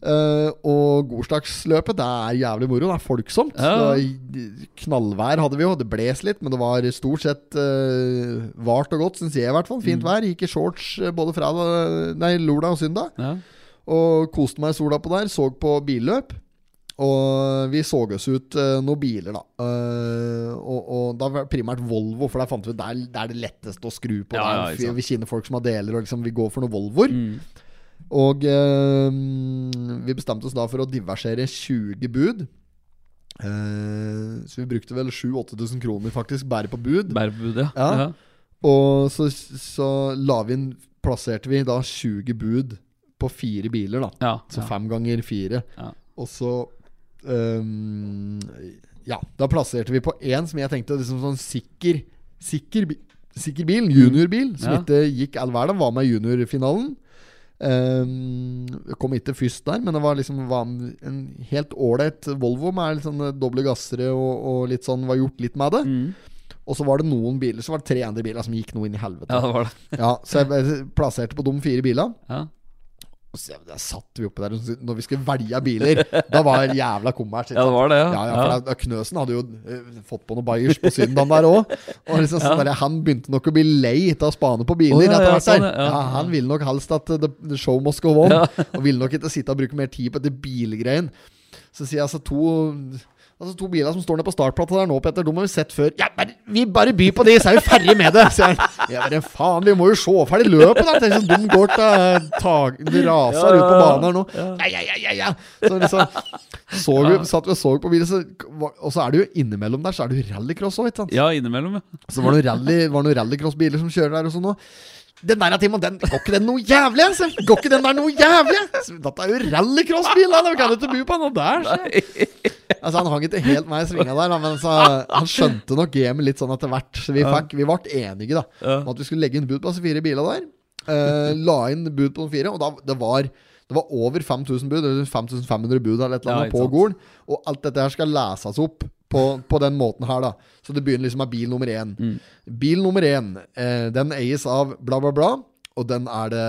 B: Eh, og gårsdagsløpet, det er jævlig moro. Det er folksomt.
A: Ja.
B: Det er knallvær hadde vi jo. Det bles litt, men det var stort sett eh, vart og godt, syns jeg i hvert fall.
A: Mm.
B: Fint vær. Gikk i shorts eh, både fra Nei, lordag og søndag.
A: Ja.
B: Og koste meg i sola på der. Så på billøp. Og vi så oss ut eh, noen biler, da. Eh, og, og da var det primært Volvo, for der fant vi ut der, der er det letteste å skru på.
A: Ja, ja,
B: der.
A: ikke sant. Mm.
B: vi kjenner folk som har deler, og liksom, vi går for noen Volvoer. Og eh, vi bestemte oss da for å diversere 20 bud. Eh, så vi brukte vel 7000-8000 kroner faktisk bare på bud.
A: Bæreforbud, ja.
B: Ja.
A: ja.
B: Og så, så la vi inn Plasserte vi da 20 bud på fire biler, da.
A: ja.
B: Så
A: ja.
B: fem ganger fire.
A: Ja.
B: Og så øhm, Ja, da plasserte vi på én som jeg tenkte liksom sånn sikker Sikker, bi- sikker bil, juniorbil, som
A: Mm. Ja.
B: ikke gikk all verden. Var med i juniorfinalen. Øhm, kom ikke først der, men det var liksom var en en helt ålreit Volvo med litt sånne doble gassere og, og litt sånn var gjort litt med det.
A: Mm.
B: Og så var det noen biler Så var det tre andre biler som gikk noe inn i helvete.
A: ja, det var det.
B: Ja, så jeg eh, plasserte på de fire bilene.
A: Ja.
B: Og så der satt vi oppe der og så- når vi skulle velge biler. Da var det jævla kommers. ikke
A: Ja, det
B: sant?
A: var det, ja.
B: Ja, ja, for da- Knøsen hadde jo eh, fått på noe bayers på søndagen der òg. Og liksom sånn der, han begynte nok å bli lei av å spane på biler.
A: Å, ja,
B: etter
A: ja,
B: hvert der.
A: sånn, ja, ja.
B: Ja, han ville nok helst at eh, the, the show must go on. Og ville nok ikke sitte og bruke mer tid på dette bilgreien. Så sier jeg altså to Altså To biler som står nede på startplata der nå, Petter, de har vi sett før. Ja, men vi bare byr på de, så er vi ferdig med det! Så jeg, jeg bare, faen, vi må jo se ferdig løpet, da! Tenk så de går til eh, tag... De raser
A: Ja, ja,
B: ut på
A: ja.
B: banen her nå. Ja, ja, ja, ja, ja. Så liksom, så vi, satt vi og så på bilen, så, og så er det jo innimellom der, så er det jo rallycross òg, ikke sant?
A: Ja, innimellom, ja.
B: Så var det noen rally, var det noen rallycrossbiler som kjører der og sånn òg. Den der Timon, den går ikke den noe jævlig, altså! Går ikke den der noe jævlig? Så Dette er jo rallycrossbil, da! Vi kan jo ikke by på noe der, så. Altså, han hang ikke helt meg i svinga der, da, men så, han skjønte nok gamet litt sånn etter hvert. Så vi, fikk, vi ble enige, da, om at vi skulle legge inn bud på disse fire bilene der. Eh, la inn bud på de fire, og da, det var Det var over 5000 bud, eller 5500 bud eller et eller
A: Ja,
B: annet
A: ikke
B: på
A: sant.
B: Golen. Og alt dette her skal leses opp på, på den måten her, da. Så det begynner liksom med bil nummer én.
A: Mm.
B: Bil nummer én, eh, den eies av bla, bla, bla. Og den er det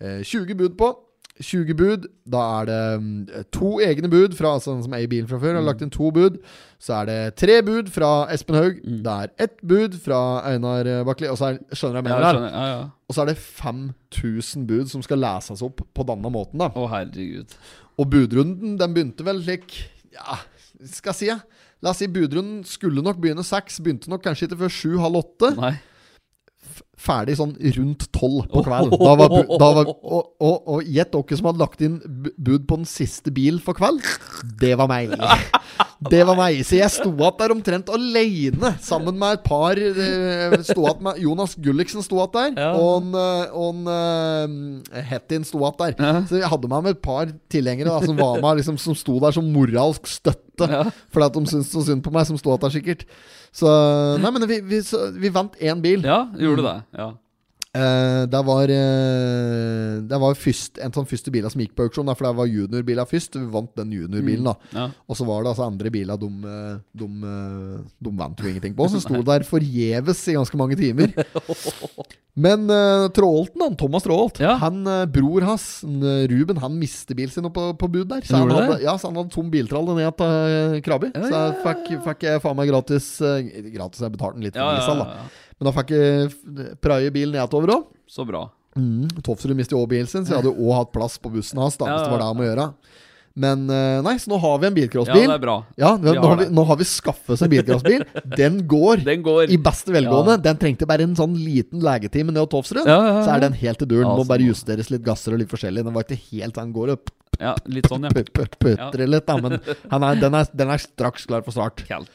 B: eh, 20 bud på. 20 bud, da er det mm, to egne bud fra altså den som eier bilen fra
A: Mm.
B: før. Har lagt inn to bud. Så er det tre bud fra Espen Haug.
A: Mm.
B: Det er ett bud fra Einar eh, Bakli. Og så er, skjønner jeg
A: Ja,
B: mener
A: jeg
B: her.
A: skjønner. Ja, ja.
B: Og så er det 5000 bud som skal leses opp på denne måten. da
A: Å, herregud.
B: Og budrunden den begynte vel slik Ja, skal jeg si ja. La oss si budrunden skulle nok begynne seks. Begynte nok kanskje ikke før sju-halv åtte.
A: Nei.
B: Ferdig sånn rundt tolv på kvelden. Da var, bu- da var, og- og og gjett dere som hadde lagt inn bu- bud på den siste bil for kveld. Det var meg. Det var meg. Så jeg sto igjen der omtrent alene sammen med et par eh, sto igjen med, Jonas Gulliksen sto igjen der,
A: Ja.
B: og en, eh, og en eh, Hettin sto igjen der. Så jeg hadde med meg et par tilhengere da, som var med liksom, Som sto der som moralsk støtte. Fordi at de syntes så synd på meg, som sto igjen der, sikkert. Så Nei, men vi, vi, så, vi vant én bil.
A: Ja, gjorde det. Ja.
B: Eh, det var, eh, det var først, en av de første bilene som gikk på auksjon, da, for det var juniorbiler først. Vi vant den juniorbilen, da.
A: Ja.
B: Og så var det altså andre biler de, eh, de, eh, de vant jo ingenting på, som sto der forgjeves i ganske mange timer. Men eh, Tråholten, han, Thomas Tråholt,
A: Ja.
B: han, eh, bror hans, en, eh, Ruben, han mistet bilen sin oppe på bud der. Så
A: Han
B: han,
A: gjorde
B: hadde,
A: det?
B: ja, så han hadde tom biltrall ned til eh, Krabi.
A: Ja,
B: så
A: ja,
B: jeg fikk, fikk jeg faen meg gratis eh, Gratis, jeg betalte den litt for
A: Ja, ja,
B: diesel,
A: ja,
B: da.
A: ja.
B: Men da fikk jeg f- praie bilen nedover òg.
A: Så bra.
B: Mm, Tofsrud mistet jo også bilen sin, så jeg hadde jo òg hatt plass på bussen hans. Da,
A: Ja,
B: hvis det var det
A: ja,
B: han må gjøre. Men eh, nei, så nå har vi en
A: Ja, det
B: bilcrossbil.
A: er bra.
B: Ja, nå,
A: Vi
B: nå,
A: har
B: har vi,
A: det.
B: nå har vi skaffet oss en bilcrossbil. Den går
A: Den går.
B: i beste velgående.
A: Ja.
B: Den trengte bare en sånn liten legetime ned hos Tofsrud.
A: Ja, ja, ja.
B: Så er den helt i duren.
A: Ja,
B: Må
A: så
B: bare
A: bra.
B: justeres litt gasser og litt forskjellig. Den var ikke helt sånn, Den går og
A: Ja, litt sånn, ja.
B: putter
A: Ja.
B: litt, da. Men han er, den, er, den er straks klar for start.
A: Kaldt.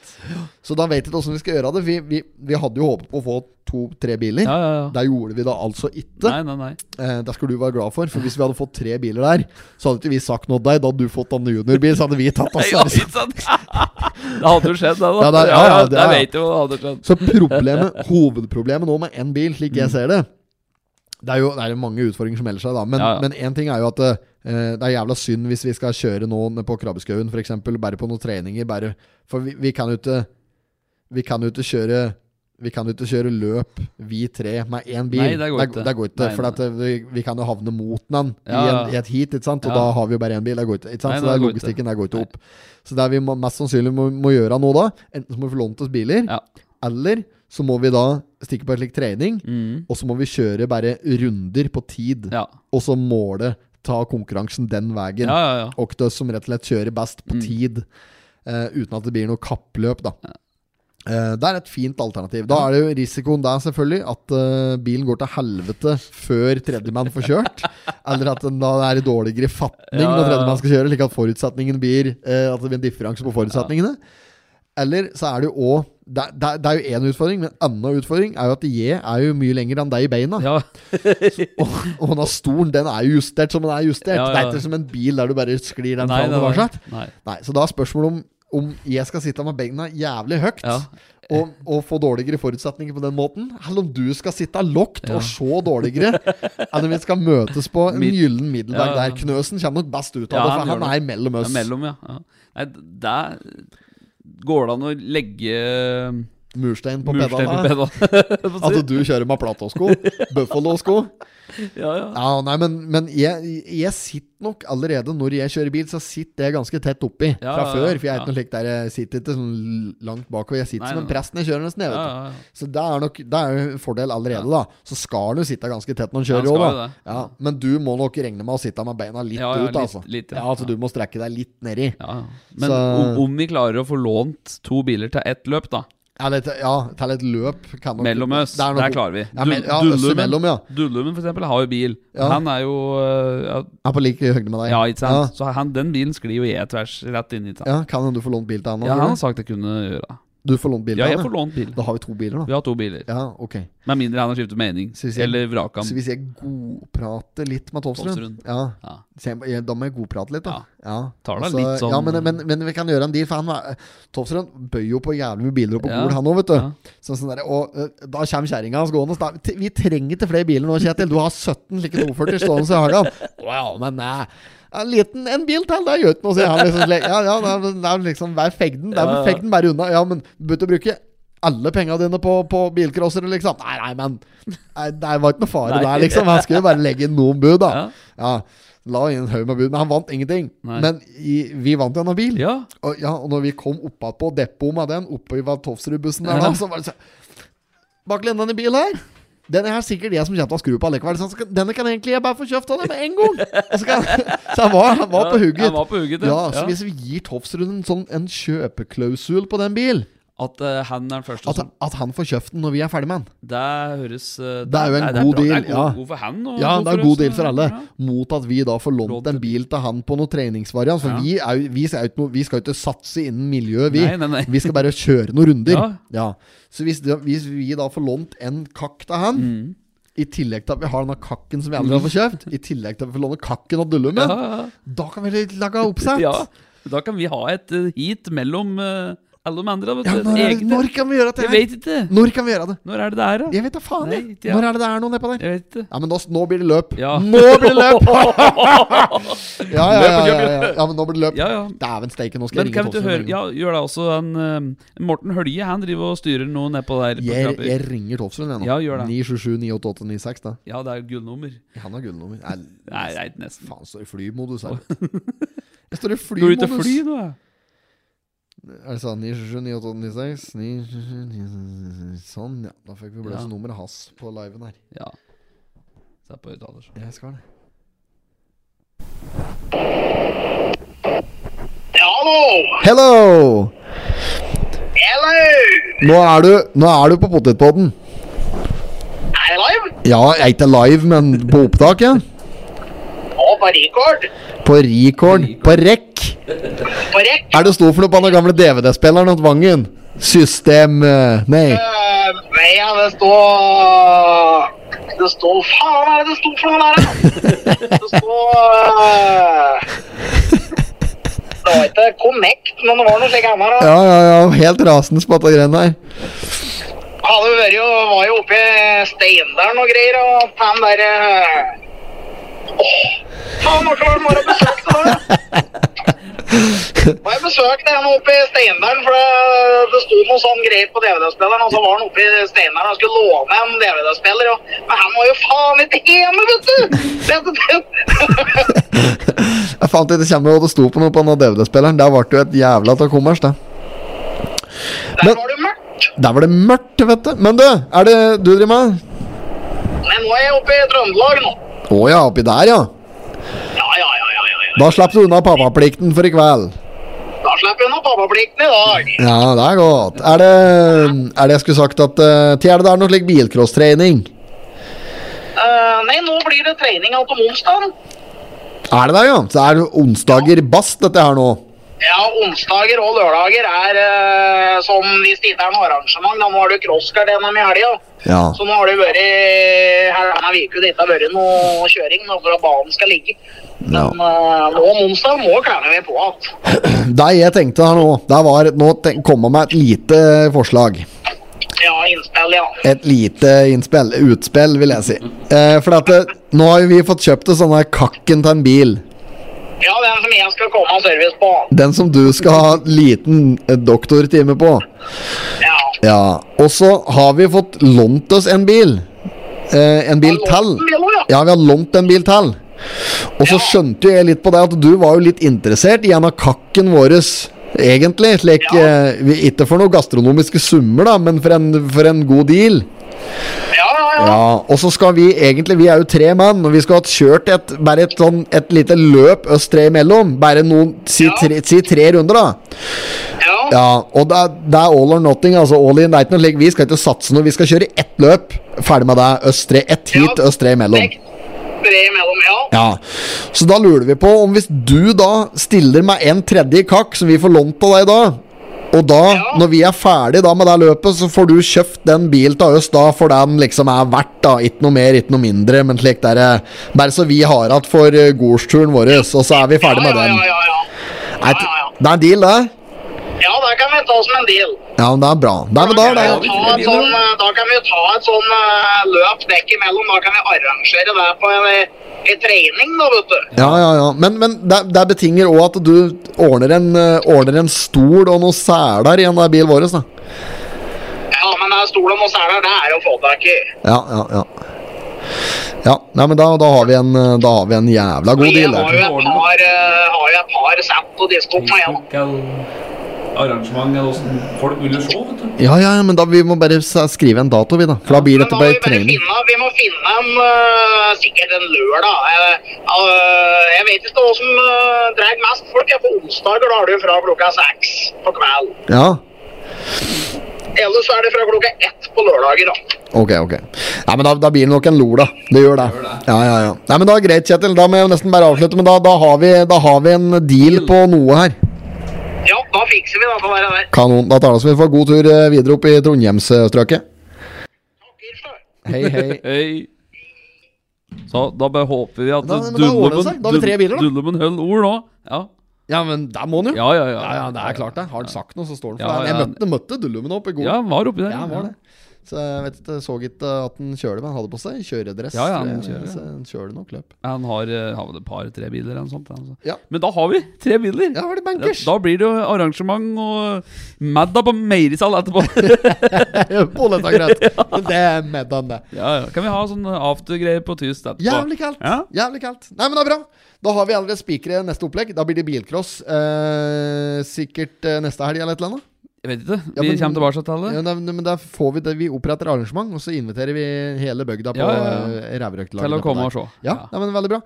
B: Så da vet vi ikke åssen vi skal gjøre det. Vi, vi, vi hadde jo håpet på å få to-tre biler.
A: Ja, ja, ja.
B: Der gjorde vi det altså ikke.
A: Nei, nei, nei.
B: Eh, det skal du være glad for, for hvis vi hadde fått tre biler der, så hadde ikke vi sagt noe til deg. Da hadde du fått en juniorbil, så hadde vi tatt oss.
A: Ja, ikke sant? Det hadde jo skjedd, det, da.
B: Ja, det- ja, ja, det-
A: Jeg
B: ja.
A: vet jo hva det hadde skjedd.
B: Så problemet, hovedproblemet nå med én bil,
A: Mm.
B: slik jeg ser det Det er jo det er jo mange utfordringer som melder seg, da. Men
A: Ja, ja.
B: men én ting er jo at eh, det er jævla synd hvis vi skal kjøre nå ned på Krabbeskauen, f.eks. Bare på noen treninger. Bare, for vi, vi kan jo ikke Vi kan jo ikke kjøre vi kan jo ikke kjøre løp, vi tre, med én bil.
A: Nei, det går ikke.
B: Det går ikke
A: Nei,
B: for at eh, vi, vi kan jo havne mot den i,
A: Ja,
B: en,
A: ja.
B: i et heat, ikke sant? og
A: Ja.
B: da har vi jo bare én bil. Det går ikke. ikke sant?
A: Nei,
B: så
A: det
B: det er
A: går ikke.
B: logistikken der går ikke opp. Så det vi må, mest sannsynlig må, må gjøre nå, da Enten så må vi få lånt oss biler,
A: Ja.
B: eller så må vi da stikke på en slik trening,
A: Mm.
B: og så må vi kjøre bare runder på tid.
A: Ja.
B: Og så måle ta konkurransen den veien.
A: ja, ja, ja.
B: Octus som rett og slett kjører
A: Mm.
B: best på tid, eh, uten at det blir noe kappløp, da. Eh, det er et fint alternativ. Da er det jo risikoen der, selvfølgelig, at eh, bilen går til helvete før tredjemann får kjørt. eller at den da er i dårligere fatning
A: Ja, ja,
B: når
A: ja.
B: tredjemann skal kjøre, slik at forutsetningen blir eh, At det blir en differanse på forutsetningene. Eller så er det jo òg det, er- det, er- det er jo én utfordring, men en annen utfordring er jo at jeg er jo mye lenger enn deg i beina.
A: ja.
B: Og, og den stolen den er jo justert som den er justert.
A: Ja, ja,
B: Det
A: ja.
B: er ikke som en bil der du bare sklir den
A: Nei,
B: fram.
A: nei,
B: og
A: nei.
B: tilbake.
A: nei.
B: Nei, så da er spørsmålet om om jeg skal sitte med beina jævlig høyt
A: Ja.
B: og, og få dårligere forutsetninger på den måten, eller om du skal sitte lågt
A: Ja.
B: og se dårligere, eller om vi skal møtes på en
A: Mid-
B: gyllen middelvei
A: Ja, ja.
B: der. Knøsen kommer nok best ut av
A: Ja,
B: det,
A: han
B: for
A: gjør
B: han er mellom
A: Ja,
B: oss.
A: mellom, ja. ja. Nei, der går det an å legge eh,
B: Murstein på
A: murstein på
B: pedalene.
A: pedalen.
B: At du kjører med platåsko. Buffalo-sko.
A: ja, ja.
B: Ja, nei, men, men jeg, jeg sitter nok allerede når jeg kjører bil, så sitter jeg ganske tett oppi
A: Ja,
B: fra
A: ja,
B: før.
A: ja,
B: For jeg er
A: ja.
B: ikke noe slik der jeg sitter ikke sånn langt bakover. Jeg sitter
A: Nei,
B: som en
A: nei, nei.
B: prest når jeg kjører nesten. Jeg,
A: Ja,
B: vet du.
A: ja, ja.
B: Så det er nok det er jo en fordel allerede, da. Så skal han jo sitte ganske tett når
A: Ja,
B: han kjører
A: han
B: òg,
A: skal
B: da.
A: jo det.
B: Ja, men du må nok regne med å sitte med beina litt
A: Ja, ja,
B: ut,
A: litt-
B: altså.
A: litt, ja.
B: ja. altså du må strekke deg litt nedi.
A: Ja, ja. Men
B: Så-
A: om, om vi klarer å få lånt to biler til ett løp, da,
B: Eller til- ja, til et løp kan nok
A: mellom oss,
B: Det er
A: der,
B: nok-
A: klarer vi.
B: Ja, men, ja,
A: Du-
B: oss
A: Dullumen-
B: imellom, ja.
A: Dullumen, for eksempel, har jo bil.
B: Ja.
A: Han er jo øh, ja,
B: Er på like høyde med deg.
A: Ja, ikke sant? Så han, den bilen sklir jo jeg tvers rett inn i
B: Ja, Kan hende du får lånt bil til han nå,
A: Ja,
B: tror
A: han
B: du?
A: har sagt jeg kunne gjøre det.
B: Du får lånt bil til
A: Ja, jeg
B: han,
A: får lånt bil.
B: Da har vi to biler,
A: Vi
B: da.
A: har to biler.
B: Ja, ok
A: Med mindre han har skiftet mening.
B: Så hvis jeg-
A: Eller vraka
B: Så
A: han.
B: hvis jeg godprater litt med Tofsrud
A: Tofsrud.
B: ja.
A: Ja.
B: så jeg- jeg- Da må jeg godprate litt, da. Ja.
A: Tar da
B: Altså,
A: litt sånn-
B: Ja, men, men, men vi kan gjøre en deal, for han var- Tofsrud bøyer jo på jævlig med biler opp på
A: Ja.
B: Gol, han òg, vet du.
A: Ja.
B: Sånn, sånn der, og eh, da kommer kjerringa hans gående. så Da, vi trenger ikke flere biler nå, Kjetil. Du har 17 slike 240 stående i hagen. Å ja, men eh, nei. En liten en bil til, det gjør ikke noe, sier han. Liksom, slik. ja, ja, nei, men det er liksom Vær fegden. Det er
A: Ja, ja.
B: fegden bare unna. Ja, men du burde bruke alle penga dine på, på bilcrossere, liksom. Nei, nei, men nei, Det var ikke noe fare
A: Nei.
B: der, liksom. Han skulle jo bare legge inn noen bud, da.
A: Ja.
B: Ja. La inn en haug med bud. Men han vant ingenting.
A: Nei.
B: Men i, vi vant jo noen bil.
A: Ja.
B: Og, ja, og når vi kom oppå depotet med den, oppå i Vatovsrud-bussen der,
A: Ja.
B: da, så var det sånn Bak lendan i bilen her den er sikkert jeg som kommer til å skru på allikevel. Så han skal- denne kan egentlig jeg bare få kjøpt av deg med en gang. Og Så, kan, så han var, han var på hugget.
A: Jeg var på hugget,
B: ja, så hvis vi gir Tofsrud en sånn en kjøpeklausul på den bil,
A: At eh, han er den første
B: at,
A: som
B: at han får kjøpt den når vi er ferdig med den
A: Det høres eh,
B: Det er jo en
A: nei,
B: god
A: bra.
B: deal,
A: Det er
B: ja.
A: god, god for han. Og
B: Ja,
A: god
B: det er
A: oss,
B: god deal
A: eh,
B: for alle.
A: ja.
B: Mot at vi da får
A: Lånt
B: lånt en
A: en
B: bil til han på noen treningsvariant. For
A: Ja.
B: vi, er, jo- vi, skal jo ikke noe, vi skal jo ikke satse innen miljøet, vi.
A: Nei, nei, nei.
B: Vi skal bare kjøre noen runder. Ja.
A: Ja.
B: Så hvis, da- hvis vi da får lånt en kakk til
A: Mm.
B: han, i tillegg til at vi har denne kakken som vi aldri har fått kjøpt, i tillegg til at vi får låne kakken og dulle med,
A: Ja, ja,
B: da kan vi lage oppsett.
A: ja. Da kan vi ha et eh, heat mellom eh, alle de andre. Vet
B: Ja,
A: du.
B: når, er det,
A: Egne.
B: når kan vi gjøre dette?
A: Jeg vet ikke.
B: Når kan vi gjøre det?
A: Når er det det er, da?
B: Jeg vet da faen, jeg.
A: Nei, ja.
B: Når er det det er noe nedpå der?
A: Jeg vet ikke.
B: Ja, men nå, nå blir det løp.
A: Ja.
B: Nå blir det løp! ja, ja, ja, ja, ja. ja, men nå blir det løp.
A: Ja, ja.
B: Dæven steike, nå skal
A: Men
B: jeg
A: kan
B: ringe
A: vi ikke
B: Tofsrud.
A: høre
B: med en gang.
A: Ja, gjør det også. En, eh, Morten Hølje han driver og styrer noe nedpå der. På
B: Jeg,
A: trapper.
B: jeg ringer Tofsrud jeg nå.
A: Ja, gjør det.
B: 977 988 96, da.
A: Ja, det er gullnummer.
B: Han har gullnummer. Nei,
A: Nei, det er ikke nesten.
B: faen, står i flymodus her. Jeg står i
A: Går du ut og
B: flymodus.
A: fly nå? da?
B: Er det sånn 977 988 96 977 977. Sånn, ja. Da fikk vi blåse
A: Ja.
B: nummeret hans på liven her.
A: Ja. Se på høyttaler.
B: Jeg skal det.
F: Hallo!
B: Hello!
F: Hello!
B: Nå er du, nå er du på potetpodden.
F: Er jeg live?
B: Ja, jeg er ikke live, men på opptak, ja.
F: Og på record?
B: På record. På rekk.
F: På rekk?
B: Er det stor for noe på den gamle DVD-spilleren hos Vangen? System eh, Nei.
F: Uh, nei, ja, det står Det står Faen, hva er det det står for noe der, da? Det står eh, Det var ikke Connect, men det var noe slikt annet. da.
B: Ja, ja, ja. Helt rasende på dette greiene her.
F: Hadde jo vært jo Var jo oppe i Steindalen og greier, og på den derre Faen, hva var det bare besøkte da? Må jeg besøkte en oppe i Steindalen, for det, det sto noe sånn greit på DVD-spilleren, og så var han oppe i Steindalen og skulle låne en DVD-spiller, og men han var jo faen ikke hjemme, vet du! Vet du!
B: Jeg fant ikke kjemme hva det sto på noe på den DVD-spilleren. Der ble det jo et jævla av kommers, da.
F: Der var det mørkt.
B: Der var det mørkt, vet du. Men du, er det du driver med?
F: Nei, nå er jeg oppe i Trøndelag nå.
B: Å ja, oppi der, ja.
F: Ja, ja, ja, ja, ja. ja.
B: Da slipper du unna pappaplikten for i kveld.
F: Da slipper jeg unna pappaplikten i dag.
B: Ja, det er godt. Er det Er det jeg skulle sagt at uh, Til er det der noe slik bilcrosstrening?
F: Eh, nei, nå blir det trening alt om onsdagen.
B: Er det der, ja? Så er det onsdager bast, dette her nå.
F: Ja, onsdager og lørdager er eh, som hvis det ikke er noe arrangement. Da nå har du crosscar det gjennom i helga.
B: Ja.
F: Så nå har det vært eh, her denne uka det ikke har vært noe kjøring da, for at banen skal ligge.
B: ja.
F: Men eh, nå om onsdag må klærne vi på igjen.
B: Det jeg tenkte her nå, det var Nå tenk, kom jeg med et lite forslag.
F: Ja, innspill, ja.
B: Et lite innspill. Utspill, vil jeg si. Eh, for at det, nå har jo vi fått kjøpt oss denne kakken til en bil.
F: Ja, den som jeg skal komme av service på.
B: Den som du skal ha liten eh, doktortime på.
F: Ja.
B: Ja. Og så har vi fått lånt oss en bil. Eh, en bil til.
F: Ja.
B: Ja, vi har lånt en bil til. Og så skjønte jo jeg litt på det at du var jo litt interessert i en av kakken våres, egentlig. Slik,
F: Ja.
B: eh, vi- ikke for noen gastronomiske summer, da, men for en, for en god deal.
F: Ja, ja, ja.
B: Ja, Og så skal vi egentlig, vi er jo tre mann, og vi skal ha kjørt et, bare et, sånn, et lite løp oss tre imellom. Bare noen, si,
F: Ja.
B: tre, si tre runder, da.
F: ja.
B: Ja, og det er, det er all or nothing. altså all in, det er ikke noe slik, Vi skal ikke satse noe, vi skal kjøre ett løp. Ferdig med det. Oss tre, ett hit,
F: Ja.
B: oss tre imellom.
F: Vekt. Tre imellom, ja.
B: Ja, så da lurer vi på om hvis du da stiller med en tredje kakk som vi får lånt av deg da, og da,
F: Ja.
B: når vi er ferdig da med det løpet, så får du kjøpt den bilen til oss da, for den liksom er verdt da, ikke noe mer, ikke noe mindre, men slik der, eh, bare så vi har hatt for eh, gårdsturen vår, og så er vi ferdig
F: ja,
B: med den.
F: Ja, ja, ja.
B: Nei,
F: ja, ja.
B: Det er en deal, det.
F: ja, det kan vi ta som en deal.
B: Ja, men det er bra. Det er, men da,
F: Da
B: er
F: kan
B: det.
F: vi jo ta et sånn, eh, da kan vi jo ta et sånn eh, løp dekk imellom. Da kan vi arrangere det på en, eh, i trening, da, vet du.
B: Ja, ja, ja. Men, men det, det betinger òg at du ordner en, eh, ordner en stol og noen seler i den der bilen vår. Da.
F: Ja, men det er stol og noe seler, det er jo å få tak i.
B: Ja, ja, ja. Ja, nei, men da, da, har vi en, eh, da har vi en jævla god
F: Jeg
B: deal.
F: har
B: Der.
F: jo et par, eh, har jo et par sett og disko
A: Mm.
F: på igjen.
A: Arrangement eller åssen folk vil se, vet du.
B: Ja, ja, ja, men da vi må bare s- skrive en dato, vi, da. For da blir
F: Men
B: dette
F: da må
B: bare
F: vi bare
B: trening.
F: finne, vi må finne en øh, sikkert en lørdag. Eh, øh, jeg vet ikke hva som uh, drar mest folk. Jeg på onsdager da er det jo fra klokka seks på kveld.
B: Ja,
F: Ellers så er det fra klokka ett på lørdager. da.
B: ok, ok. Nei, men da, da blir det nok en lor, da. Det gjør det. Ja, ja, ja. Nei, men da er greit, Kjetil. Da må jeg jo nesten bare avslutte, men da, da, har, vi, da har vi en deal på noe her.
F: Ja, da fikser vi det. Da, der.
B: Kanon. Da tar det som vi får god tur eh, videre opp i Trondheimsstrøket. Hei, hei.
A: Hei. Så da bare håper vi at
B: Da- men da
A: Dullum-
B: ordner det seg. Da har vi tre biler, da.
A: Dullum en høll ord nå. Ja.
B: Ja, men der må han jo.
A: Ja, ja, ja.
B: Ja, ja, det er klart det. Har han sagt noe, så står han for
A: Ja,
B: det.
A: ja.
B: Jeg møtte, møtte Dullumen opp i går.
A: Ja, han var oppi der.
B: Ja, han var det. Så jeg vet ikke, så ikke at han kjøler, men han hadde på seg kjøredress.
A: Ja, ja, han
B: tror jeg.
A: kjører, ja.
B: Så han kjøler nok løp.
A: Han har, eh, har vel et par-tre biler eller noe sånt. Altså.
B: Ja.
A: Men da har vi tre biler!
B: Ja, var det
A: Da,
B: bankers?
A: da blir det jo arrangement og Madda på Meirisal etterpå.
B: Bollet er greit. Det er med han, det.
A: ja, ja. Kan vi ha sånn aftergreier på tyst etterpå?
B: Jævlig kaldt.
A: Ja.
B: Jævlig kaldt. Nei, men det er bra. Da har vi allerede spikere neste opplegg. Da blir det bilcross. Eh, sikkert eh, neste helg eller et eller annet.
A: Jeg vet ikke.
B: Ja,
A: Vi
B: men-
A: kommer tilbake til det.
B: Ja, da- men da får vi det. Vi oppretter arrangement, og så inviterer vi hele bygda på
A: Ja, ja, ja.
B: eh, Rævrøktlaget.
A: Til å
B: nedpå
A: komme
B: der.
A: og se.
B: Ja, nei, men veldig bra.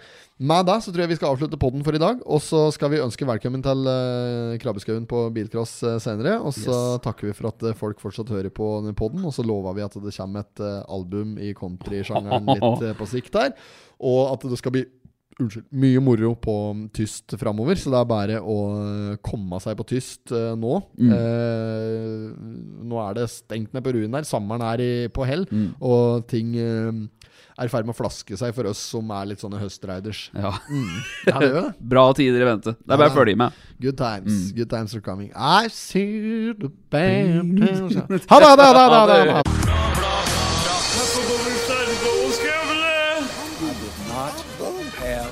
B: Med det så tror jeg vi skal avslutte podden for i dag. Og så skal vi ønske velkommen til uh, Krabbeskauen på bilcross eh, senere. Og så
A: Yes.
B: takker vi for at eh, folk fortsatt hører på denne podden. Og så lover vi at det kommer et eh, album i countrysjangeren litt eh, på sikt her. Og at det skal bli Unnskyld. Mye moro på mm, tyst framover, så det er bare å eh, komme seg på tyst eh, nå. Eh, nå er det stengt ned på ruinen her. Sommeren er i, på hell, og ting eh, er i ferd med å flaske seg for oss som er litt sånne høstriders.
A: Ja.
B: Ja, det gjør det.
A: Bra tider i vente. Det er bare å følge med.
B: Good times. Good times are coming. I see the band. Ha det, ha det, ha det! Ha det, ha det.
C: I did not have